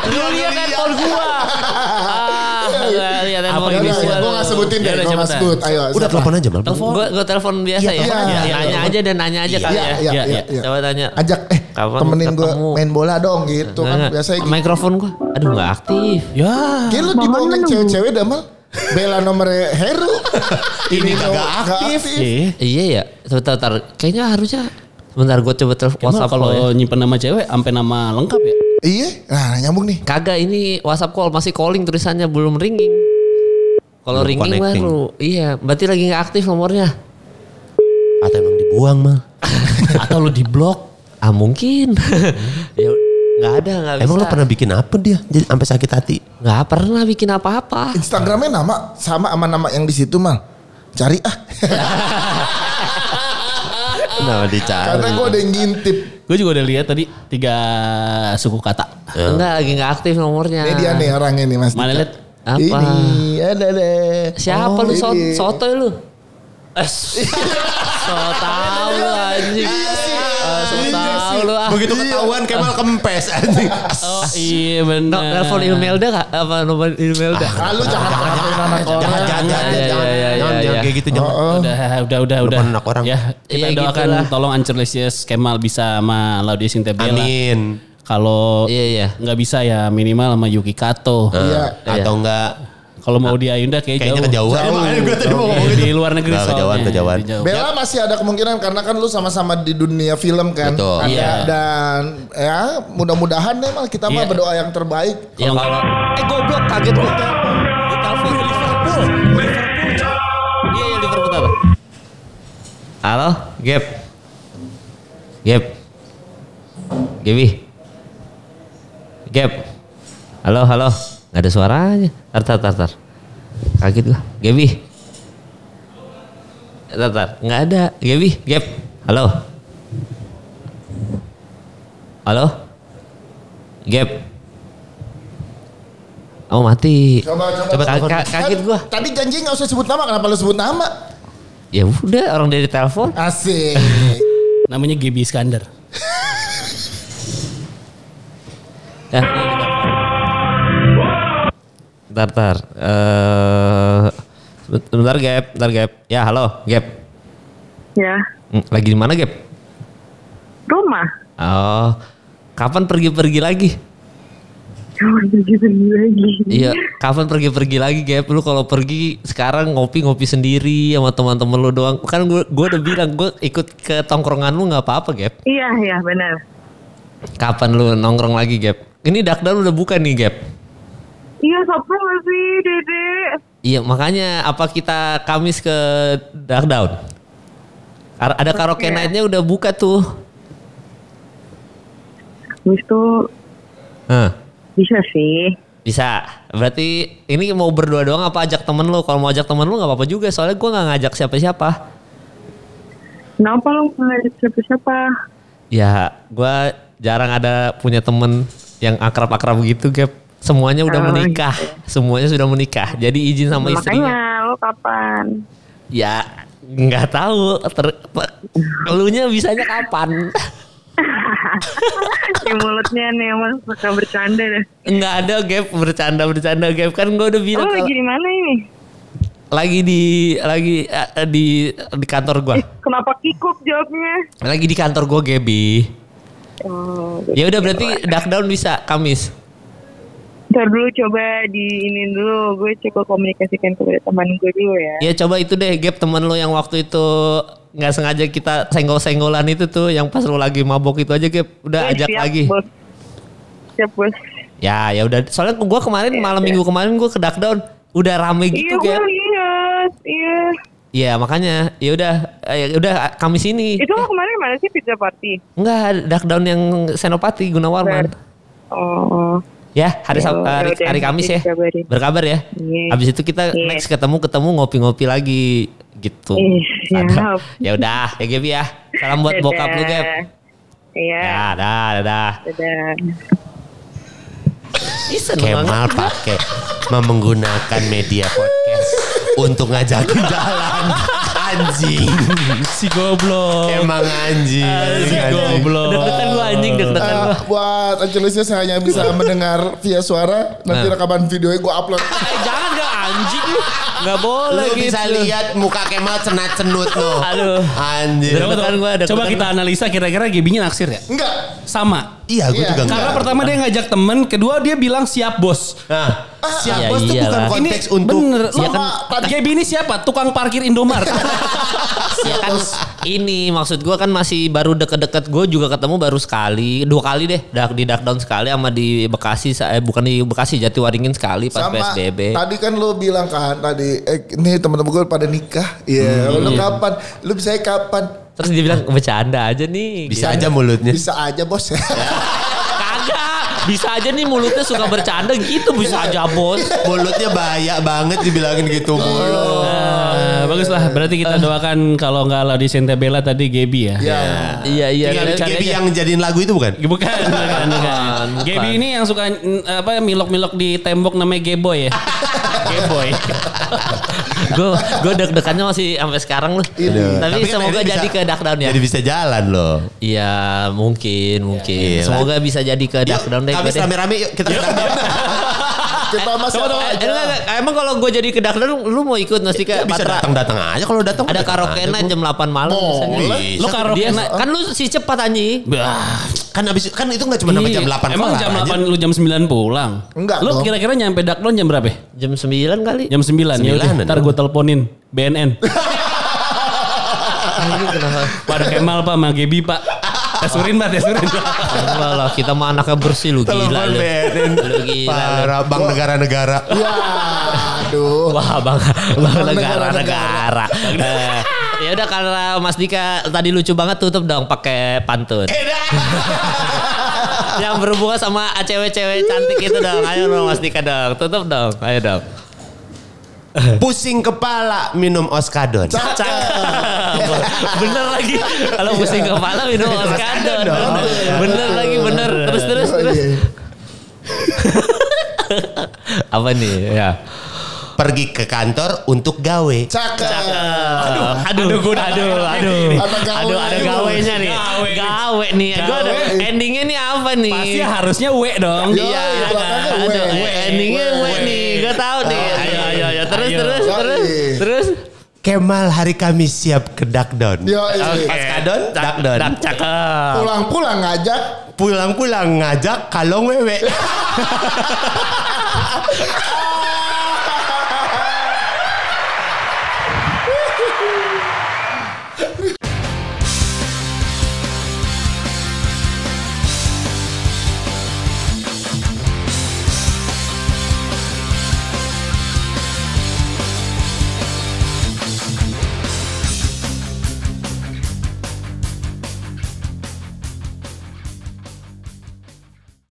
[SPEAKER 4] Lu lihat handphone gua. Ah,
[SPEAKER 1] Iya,
[SPEAKER 3] Iya,
[SPEAKER 4] nggak lihat handphone
[SPEAKER 2] Apa ini sih?
[SPEAKER 4] gua.
[SPEAKER 1] Gue gak sebutin deh,
[SPEAKER 2] Ya
[SPEAKER 1] gue
[SPEAKER 2] udah,
[SPEAKER 1] gak
[SPEAKER 2] cepetan.
[SPEAKER 1] sebut. Ayo,
[SPEAKER 3] Udah
[SPEAKER 1] siapa?
[SPEAKER 3] telepon aja, Mal.
[SPEAKER 4] Gua gua telepon biasa ya.
[SPEAKER 1] telepon aja.
[SPEAKER 4] Nanya
[SPEAKER 1] Iya,
[SPEAKER 4] aja dan nanya aja kali
[SPEAKER 1] Iya,
[SPEAKER 4] ya.
[SPEAKER 1] iya,
[SPEAKER 2] Iya,
[SPEAKER 1] iya.
[SPEAKER 2] iya.
[SPEAKER 1] iya.
[SPEAKER 4] Coba tanya.
[SPEAKER 1] Ajak, eh
[SPEAKER 4] Kapan
[SPEAKER 1] temenin gue
[SPEAKER 4] ketemu?
[SPEAKER 1] main bola dong gitu
[SPEAKER 4] Nggak,
[SPEAKER 3] Iya.
[SPEAKER 1] kan.
[SPEAKER 4] nggak.
[SPEAKER 1] Biasanya gitu. Iya.
[SPEAKER 4] Mikrofon gua. Aduh nggak aktif.
[SPEAKER 2] ya.
[SPEAKER 1] Kayaknya lu dibawain cewek-cewek dah mal. Bela nomornya Heru.
[SPEAKER 3] Ini kagak
[SPEAKER 1] nomor- nggak
[SPEAKER 3] aktif.
[SPEAKER 2] Iya.
[SPEAKER 4] Iya ya. Sebentar, bentar. Kayaknya harusnya sebentar gua coba telepon
[SPEAKER 2] Mal,
[SPEAKER 4] WhatsApp
[SPEAKER 2] kalau
[SPEAKER 4] lo ya.
[SPEAKER 2] nyimpen nama cewek sampai nama lengkap ya.
[SPEAKER 1] Iya, nah nyambung nih.
[SPEAKER 4] Kagak ini WhatsApp call masih calling tulisannya belum ringing. Kalau
[SPEAKER 3] Belum
[SPEAKER 4] ringing
[SPEAKER 3] connecting.
[SPEAKER 4] baru. Iya, berarti lagi nggak aktif nomornya.
[SPEAKER 3] Atau emang dibuang, Mal.
[SPEAKER 2] Atau lu di blok.
[SPEAKER 4] Ah mungkin.
[SPEAKER 1] Hmm.
[SPEAKER 4] ya nggak ada nggak bisa.
[SPEAKER 3] Emang lo pernah bikin apa dia? Jadi sampai sakit hati.
[SPEAKER 4] nggak pernah bikin apa-apa?
[SPEAKER 1] Instagramnya nama sama sama nama yang di situ mal. Cari ah.
[SPEAKER 3] Nah, dicari.
[SPEAKER 1] Karena gue ada yang ngintip.
[SPEAKER 2] Gue juga udah lihat tadi tiga suku kata.
[SPEAKER 1] Ya.
[SPEAKER 4] Enggak lagi nggak aktif nomornya.
[SPEAKER 1] Ini dia nih orangnya nih mas.
[SPEAKER 2] Mana
[SPEAKER 1] Dika.
[SPEAKER 2] lihat?
[SPEAKER 4] Ah. Apa?
[SPEAKER 1] Ini ada deh.
[SPEAKER 4] Siapa
[SPEAKER 1] Oh,
[SPEAKER 4] lu so
[SPEAKER 1] ini.
[SPEAKER 4] sotoy lu? Eh, so tau lu anjing. Eh, So
[SPEAKER 1] Iya
[SPEAKER 4] tau lu ah.
[SPEAKER 3] Begitu ketahuan Kemal kempes anjing.
[SPEAKER 2] Oh iya benar.
[SPEAKER 4] No, Telepon Imelda kak? Apa nomor Imelda?
[SPEAKER 1] Ah, lu jangan perhatiin anak
[SPEAKER 3] Jangan,
[SPEAKER 1] orang.
[SPEAKER 4] Iya,
[SPEAKER 3] jangan, jangan,
[SPEAKER 4] iya,
[SPEAKER 3] jangan,
[SPEAKER 4] iya,
[SPEAKER 3] jangan,
[SPEAKER 4] iya,
[SPEAKER 3] jangan
[SPEAKER 4] iya.
[SPEAKER 3] kayak gitu, jangan.
[SPEAKER 1] Oh, oh.
[SPEAKER 2] Udah, udah, udah, udah.
[SPEAKER 3] Depan anak orang.
[SPEAKER 2] Ya, kita
[SPEAKER 4] Iya, gitu
[SPEAKER 2] doakan
[SPEAKER 4] lah.
[SPEAKER 2] tolong Ancur Lesius Kemal bisa sama Laudia Sintebela.
[SPEAKER 3] Amin.
[SPEAKER 2] Kalau
[SPEAKER 4] Iya, iya.
[SPEAKER 2] nggak bisa ya minimal sama Yuki Kato.
[SPEAKER 1] Iya.
[SPEAKER 3] Atau enggak
[SPEAKER 2] Kalau mau di Ayunda kayak
[SPEAKER 3] kayaknya
[SPEAKER 2] jauh.
[SPEAKER 3] kejauhan. Makanya gua tadi mau ngomong
[SPEAKER 2] Iya, Di
[SPEAKER 3] gitu.
[SPEAKER 2] luar negeri
[SPEAKER 3] Nggak,
[SPEAKER 2] soalnya.
[SPEAKER 3] kejauhan, kejauhan.
[SPEAKER 2] Di jauh.
[SPEAKER 1] Bella masih ada kemungkinan karena kan lu sama-sama di dunia film kan.
[SPEAKER 3] Betul.
[SPEAKER 1] Ada-
[SPEAKER 4] Iya.
[SPEAKER 1] Dan ya mudah-mudahan deh mal kita mah
[SPEAKER 2] Iya.
[SPEAKER 1] berdoa yang terbaik.
[SPEAKER 4] Yang kalau eh goblok kaget gua. Telepon Liverpool. Liverpool. coy. Iya iya Liverpool apa? Halo, Gap. Gap. Gaby. Gap. Halo, halo. Gak ada suaranya. Tar, tar, tar, tar. Kaget gua. Gaby. Tar, tar. Gak ada. Gaby, Gap. Halo. Halo. Gap. Oh mati.
[SPEAKER 1] Coba coba.
[SPEAKER 4] Ka- ka- kaget gua.
[SPEAKER 1] Kan Tadi janji nggak usah sebut nama, kenapa lu sebut nama?
[SPEAKER 4] Ya udah orang dari telepon.
[SPEAKER 1] Asik.
[SPEAKER 2] Namanya Gibi Iskandar.
[SPEAKER 4] Eh. Bentar, bentar. Eh, sebent- bentar Gap, bentar Gap. Ya halo Gap.
[SPEAKER 5] Ya,
[SPEAKER 4] Hmm, Lagi di mana Gap?
[SPEAKER 5] rumah.
[SPEAKER 4] Oh, kapan pergi-pergi lagi?
[SPEAKER 5] Cuma gitu lagi.
[SPEAKER 4] Iya, kapan pergi-pergi lagi Gap? Lu kalau pergi sekarang ngopi-ngopi sendiri sama teman-teman lu doang. Kan gua, gua udah bilang gua ikut ke tongkrongan lu nggak apa-apa Gap.
[SPEAKER 5] Iya, iya benar.
[SPEAKER 4] Kapan lu nongkrong lagi Gap? Ini dakdal udah buka nih Gap.
[SPEAKER 5] Iya, sopo nggak sih, Dede?
[SPEAKER 4] Iya makanya apa kita Kamis ke Dark Down? Ar- Ada karaoke
[SPEAKER 5] Iya.
[SPEAKER 4] night-nya udah buka tuh.
[SPEAKER 5] Habis itu bisa sih.
[SPEAKER 4] Bisa. Berarti ini mau berdua doang apa ajak temen lo? Kalau mau ajak temen lo nggak apa-apa juga. Soalnya gua nggak ngajak siapa-siapa.
[SPEAKER 5] Kenapa lu nggak ada siapa-siapa?
[SPEAKER 4] Ya, gua jarang ada punya temen yang akrab-akrab gitu, Gap. Semuanya udah
[SPEAKER 5] Oh,
[SPEAKER 4] menikah, semuanya sudah menikah. Jadi izin sama istrinya.
[SPEAKER 5] Makanya lo kapan?
[SPEAKER 4] Ya, nggak tahu. Ter, pe- elunya bisanya kapan?
[SPEAKER 5] Di mulutnya nih emang suka bercanda deh.
[SPEAKER 4] Nggak ada Gap bercanda bercanda Gap kan gue udah bilang
[SPEAKER 5] Lo
[SPEAKER 4] kalau-
[SPEAKER 5] Oh, lagi
[SPEAKER 4] lagi.
[SPEAKER 5] di mana ini?
[SPEAKER 4] di lagi eh, eh, di di kantor gua.
[SPEAKER 5] Ih, kenapa kikuk jawabnya?
[SPEAKER 4] Lagi di kantor gua Gaby.
[SPEAKER 5] Oh,
[SPEAKER 4] Ya udah berarti duck down bisa Kamis.
[SPEAKER 5] Ntar dulu coba di ini dulu, gue coba komunikasikan kepada teman gue dulu ya.
[SPEAKER 4] Ya coba itu deh Gap temen lu yang waktu itu nggak sengaja kita senggol-senggolan itu tuh yang pas lu lagi mabok itu aja Gap udah
[SPEAKER 5] Gue
[SPEAKER 4] ajak
[SPEAKER 5] Iya, Eh, siap,
[SPEAKER 4] lagi.
[SPEAKER 5] Bos. Siap bos.
[SPEAKER 4] Ya ya udah soalnya gua kemarin malam minggu kemarin gua ke duck down udah rame
[SPEAKER 5] iya
[SPEAKER 4] gitu
[SPEAKER 5] gue
[SPEAKER 4] Gap.
[SPEAKER 5] lihat, iya.
[SPEAKER 4] Iya makanya ya udah eh, ya udah Kamis ini.
[SPEAKER 5] Itu lo kemarin mana sih pizza party?
[SPEAKER 4] Enggak duck down yang Senopati Gunawarman.
[SPEAKER 5] Oh,
[SPEAKER 4] Ya, hari Sab-
[SPEAKER 5] Ya,
[SPEAKER 4] hari,
[SPEAKER 5] udah,
[SPEAKER 4] hari Kamis ya.
[SPEAKER 5] dikabarin.
[SPEAKER 4] Berkabar ya.
[SPEAKER 5] Iya.
[SPEAKER 4] Habis itu kita
[SPEAKER 5] Iya.
[SPEAKER 4] next ketemu ketemu ngopi-ngopi lagi gitu.
[SPEAKER 5] Ih,
[SPEAKER 4] Ada.
[SPEAKER 5] Iya, siap.
[SPEAKER 4] Ya udah, ya Gap ya. Salam buat
[SPEAKER 5] Dadah.
[SPEAKER 4] bokap lu, Gap.
[SPEAKER 5] Iya.
[SPEAKER 4] Ya, dah, dah.
[SPEAKER 5] Dadah.
[SPEAKER 3] Kemal pakai mem- menggunakan media podcast untuk ngajakin jalan anjing
[SPEAKER 2] Si goblok.
[SPEAKER 3] emang anjing,
[SPEAKER 2] Si
[SPEAKER 3] anjing.
[SPEAKER 2] goblok.
[SPEAKER 4] Deg-degan lu anjing, deg-degan
[SPEAKER 1] Eh,
[SPEAKER 4] lu.
[SPEAKER 1] buat Angelusnya saya hanya bisa mendengar via suara. Nanti
[SPEAKER 4] Nah.
[SPEAKER 1] rekaman videonya gue upload.
[SPEAKER 4] Eh, jangan gak anjing. Gak boleh
[SPEAKER 3] lu
[SPEAKER 4] gitu.
[SPEAKER 3] bisa lihat muka Kemal cenat cenut lo
[SPEAKER 4] Aduh.
[SPEAKER 3] anjing
[SPEAKER 4] Deg-degan
[SPEAKER 2] Coba,
[SPEAKER 4] gua, deg-degan
[SPEAKER 2] coba
[SPEAKER 4] gua.
[SPEAKER 2] kita analisa kira-kira Gaby-nya naksir ya?
[SPEAKER 1] Enggak.
[SPEAKER 2] Sama.
[SPEAKER 3] iya gue
[SPEAKER 1] Iya.
[SPEAKER 3] juga enggak
[SPEAKER 2] Karena pertama dia ngajak temen, kedua dia bilang siap bos.
[SPEAKER 3] nah, siap
[SPEAKER 4] iya,
[SPEAKER 3] bos tuh bukan
[SPEAKER 4] iyalah.
[SPEAKER 3] konteks
[SPEAKER 2] ini
[SPEAKER 3] untuk
[SPEAKER 2] bener.
[SPEAKER 1] Ya
[SPEAKER 2] Ya
[SPEAKER 1] kan-
[SPEAKER 2] Gaby ini siapa? Tukang parkir Indomaret.
[SPEAKER 4] Ya kan ini maksud gua kan masih baru deket-deket gue juga ketemu baru sekali dua kali deh Dark- di dark down sekali sama di Bekasi eh, bukan di Bekasi Jatiwaringin sekali pas
[SPEAKER 1] Sama
[SPEAKER 4] PSBB
[SPEAKER 1] tadi kan lu bilang kan tadi eh, ini teman-teman gue pada nikah. Iya,
[SPEAKER 4] Hmm.
[SPEAKER 1] lu kapan? Lu bisa kapan?
[SPEAKER 4] terus dia bilang bercanda aja nih
[SPEAKER 3] bisa
[SPEAKER 4] Ya.
[SPEAKER 3] aja mulutnya
[SPEAKER 1] Bisa aja, Bos. Ya.
[SPEAKER 4] Kagak. Bisa aja nih mulutnya suka bercanda gitu bisa aja bos.
[SPEAKER 3] mulutnya bahaya banget dibilangin gitu mulu
[SPEAKER 2] Eh, Baguslah bagus lah. Berarti
[SPEAKER 3] Eh.
[SPEAKER 2] kita doakan kalau nggak Laudisente Bella tadi Gaby ya.
[SPEAKER 1] Ya.
[SPEAKER 4] Iya iya.
[SPEAKER 3] Tinggal
[SPEAKER 4] cari
[SPEAKER 3] Gaby
[SPEAKER 4] aja.
[SPEAKER 3] yang jadiin lagu itu bukan
[SPEAKER 2] Bukan, bukan, bukan.
[SPEAKER 4] bukan.
[SPEAKER 2] Gaby ini yang suka mm, apa milok-milok di tembok namanya Geboy ya.
[SPEAKER 3] Ah,
[SPEAKER 2] Geboy.
[SPEAKER 4] Gue gue deg-degannya masih sampai sekarang loh.
[SPEAKER 1] Iya.
[SPEAKER 4] Tapi,
[SPEAKER 3] kan
[SPEAKER 4] semoga
[SPEAKER 3] akhirnya
[SPEAKER 4] jadi
[SPEAKER 3] bisa-
[SPEAKER 4] ke duckdown ya.
[SPEAKER 3] jadi bisa jalan loh
[SPEAKER 4] Iya mungkin mungkin.
[SPEAKER 3] Iya.
[SPEAKER 4] Semoga bisa jadi ke
[SPEAKER 3] Yuk,
[SPEAKER 4] duckdown deh.
[SPEAKER 3] kami
[SPEAKER 4] gue deh.
[SPEAKER 3] rame-rame yuk kita
[SPEAKER 1] Kita masih
[SPEAKER 4] Eh,
[SPEAKER 1] apa aja.
[SPEAKER 4] enggak, enggak. Emang kalau gue jadi ke duckdown lu mau ikut nggak sih Kak?
[SPEAKER 3] Ya, bisa
[SPEAKER 4] Patra?
[SPEAKER 3] datang-datang aja kalau datang.
[SPEAKER 4] Ada karaoke night jam 8 malam misalnya.
[SPEAKER 3] Boleh.
[SPEAKER 2] Lu karaoke
[SPEAKER 4] Dia-
[SPEAKER 2] night.
[SPEAKER 4] kan lu si cepat anjing.
[SPEAKER 3] Kan abis kan itu nggak cuma sampai
[SPEAKER 4] Iya,
[SPEAKER 3] jam 8
[SPEAKER 2] Iya. Emang
[SPEAKER 3] kelar,
[SPEAKER 2] jam
[SPEAKER 3] anjing.
[SPEAKER 2] 8 lu jam 9 pulang?
[SPEAKER 1] Enggak
[SPEAKER 2] Lu
[SPEAKER 1] dong.
[SPEAKER 2] kira-kira nyampe Dakdon jam berapa? ya?
[SPEAKER 4] Jam 9 kali.
[SPEAKER 2] Jam 9. Ya udah,
[SPEAKER 3] Sembilanan
[SPEAKER 2] ntar
[SPEAKER 3] dong.
[SPEAKER 2] gue teleponin BNN. Pak ada Kemal Pak, sama Gaby Pak. Tesurin Pak, tesurin.
[SPEAKER 4] Enggak lah, kita mah anaknya bersih lu gila
[SPEAKER 3] Telepon
[SPEAKER 4] lu.
[SPEAKER 3] BNN.
[SPEAKER 4] Lu gila lu.
[SPEAKER 3] Para bank negara-negara.
[SPEAKER 1] Ya, aduh.
[SPEAKER 4] Wah bang, bang negara
[SPEAKER 1] negara-negara.
[SPEAKER 4] negara. Eh, ya udah karena Mas Dika tadi lucu banget tutup dong pakai pantun.
[SPEAKER 3] Eh,
[SPEAKER 4] Yang berhubungan sama cewek-cewek cantik itu dong. Ayo dong Mas Dika dong, tutup dong. Ayo dong.
[SPEAKER 3] Pusing kepala minum oskadon.
[SPEAKER 4] bener lagi kalau pusing kepala minum oskadon bener lagi bener terus terus terus
[SPEAKER 1] iya.
[SPEAKER 4] apa nih
[SPEAKER 3] Iya.
[SPEAKER 4] ya
[SPEAKER 3] Pergi ke kantor untuk gawe.
[SPEAKER 1] Cakep.
[SPEAKER 4] aduh aduh aduh aduh aduh
[SPEAKER 1] Apa gawe?
[SPEAKER 4] aduh ada gawenya nih
[SPEAKER 2] Gawe.
[SPEAKER 4] gawe nih gua ada
[SPEAKER 1] Gawe.
[SPEAKER 4] endingnya nih apa nih
[SPEAKER 2] Pasti harusnya W dong.
[SPEAKER 1] Iya.
[SPEAKER 4] Iya,
[SPEAKER 1] Yoi, belakangnya
[SPEAKER 4] ada- ada-
[SPEAKER 1] we.
[SPEAKER 4] endingnya
[SPEAKER 1] We.
[SPEAKER 4] gue nih, gue tahu nih. Ayo, ayo, ayo, terus,
[SPEAKER 2] Ayo.
[SPEAKER 4] terus,
[SPEAKER 1] Yoi.
[SPEAKER 4] terus, terus.
[SPEAKER 3] Kemal hari kami siap ke duckdown.
[SPEAKER 4] Ya.
[SPEAKER 1] Yo, iya.
[SPEAKER 3] Oskadon, duckdown.
[SPEAKER 4] Dak cakep.
[SPEAKER 1] pulang-pulang ngajak
[SPEAKER 3] Pulang-pulang ngajak kalong wewe.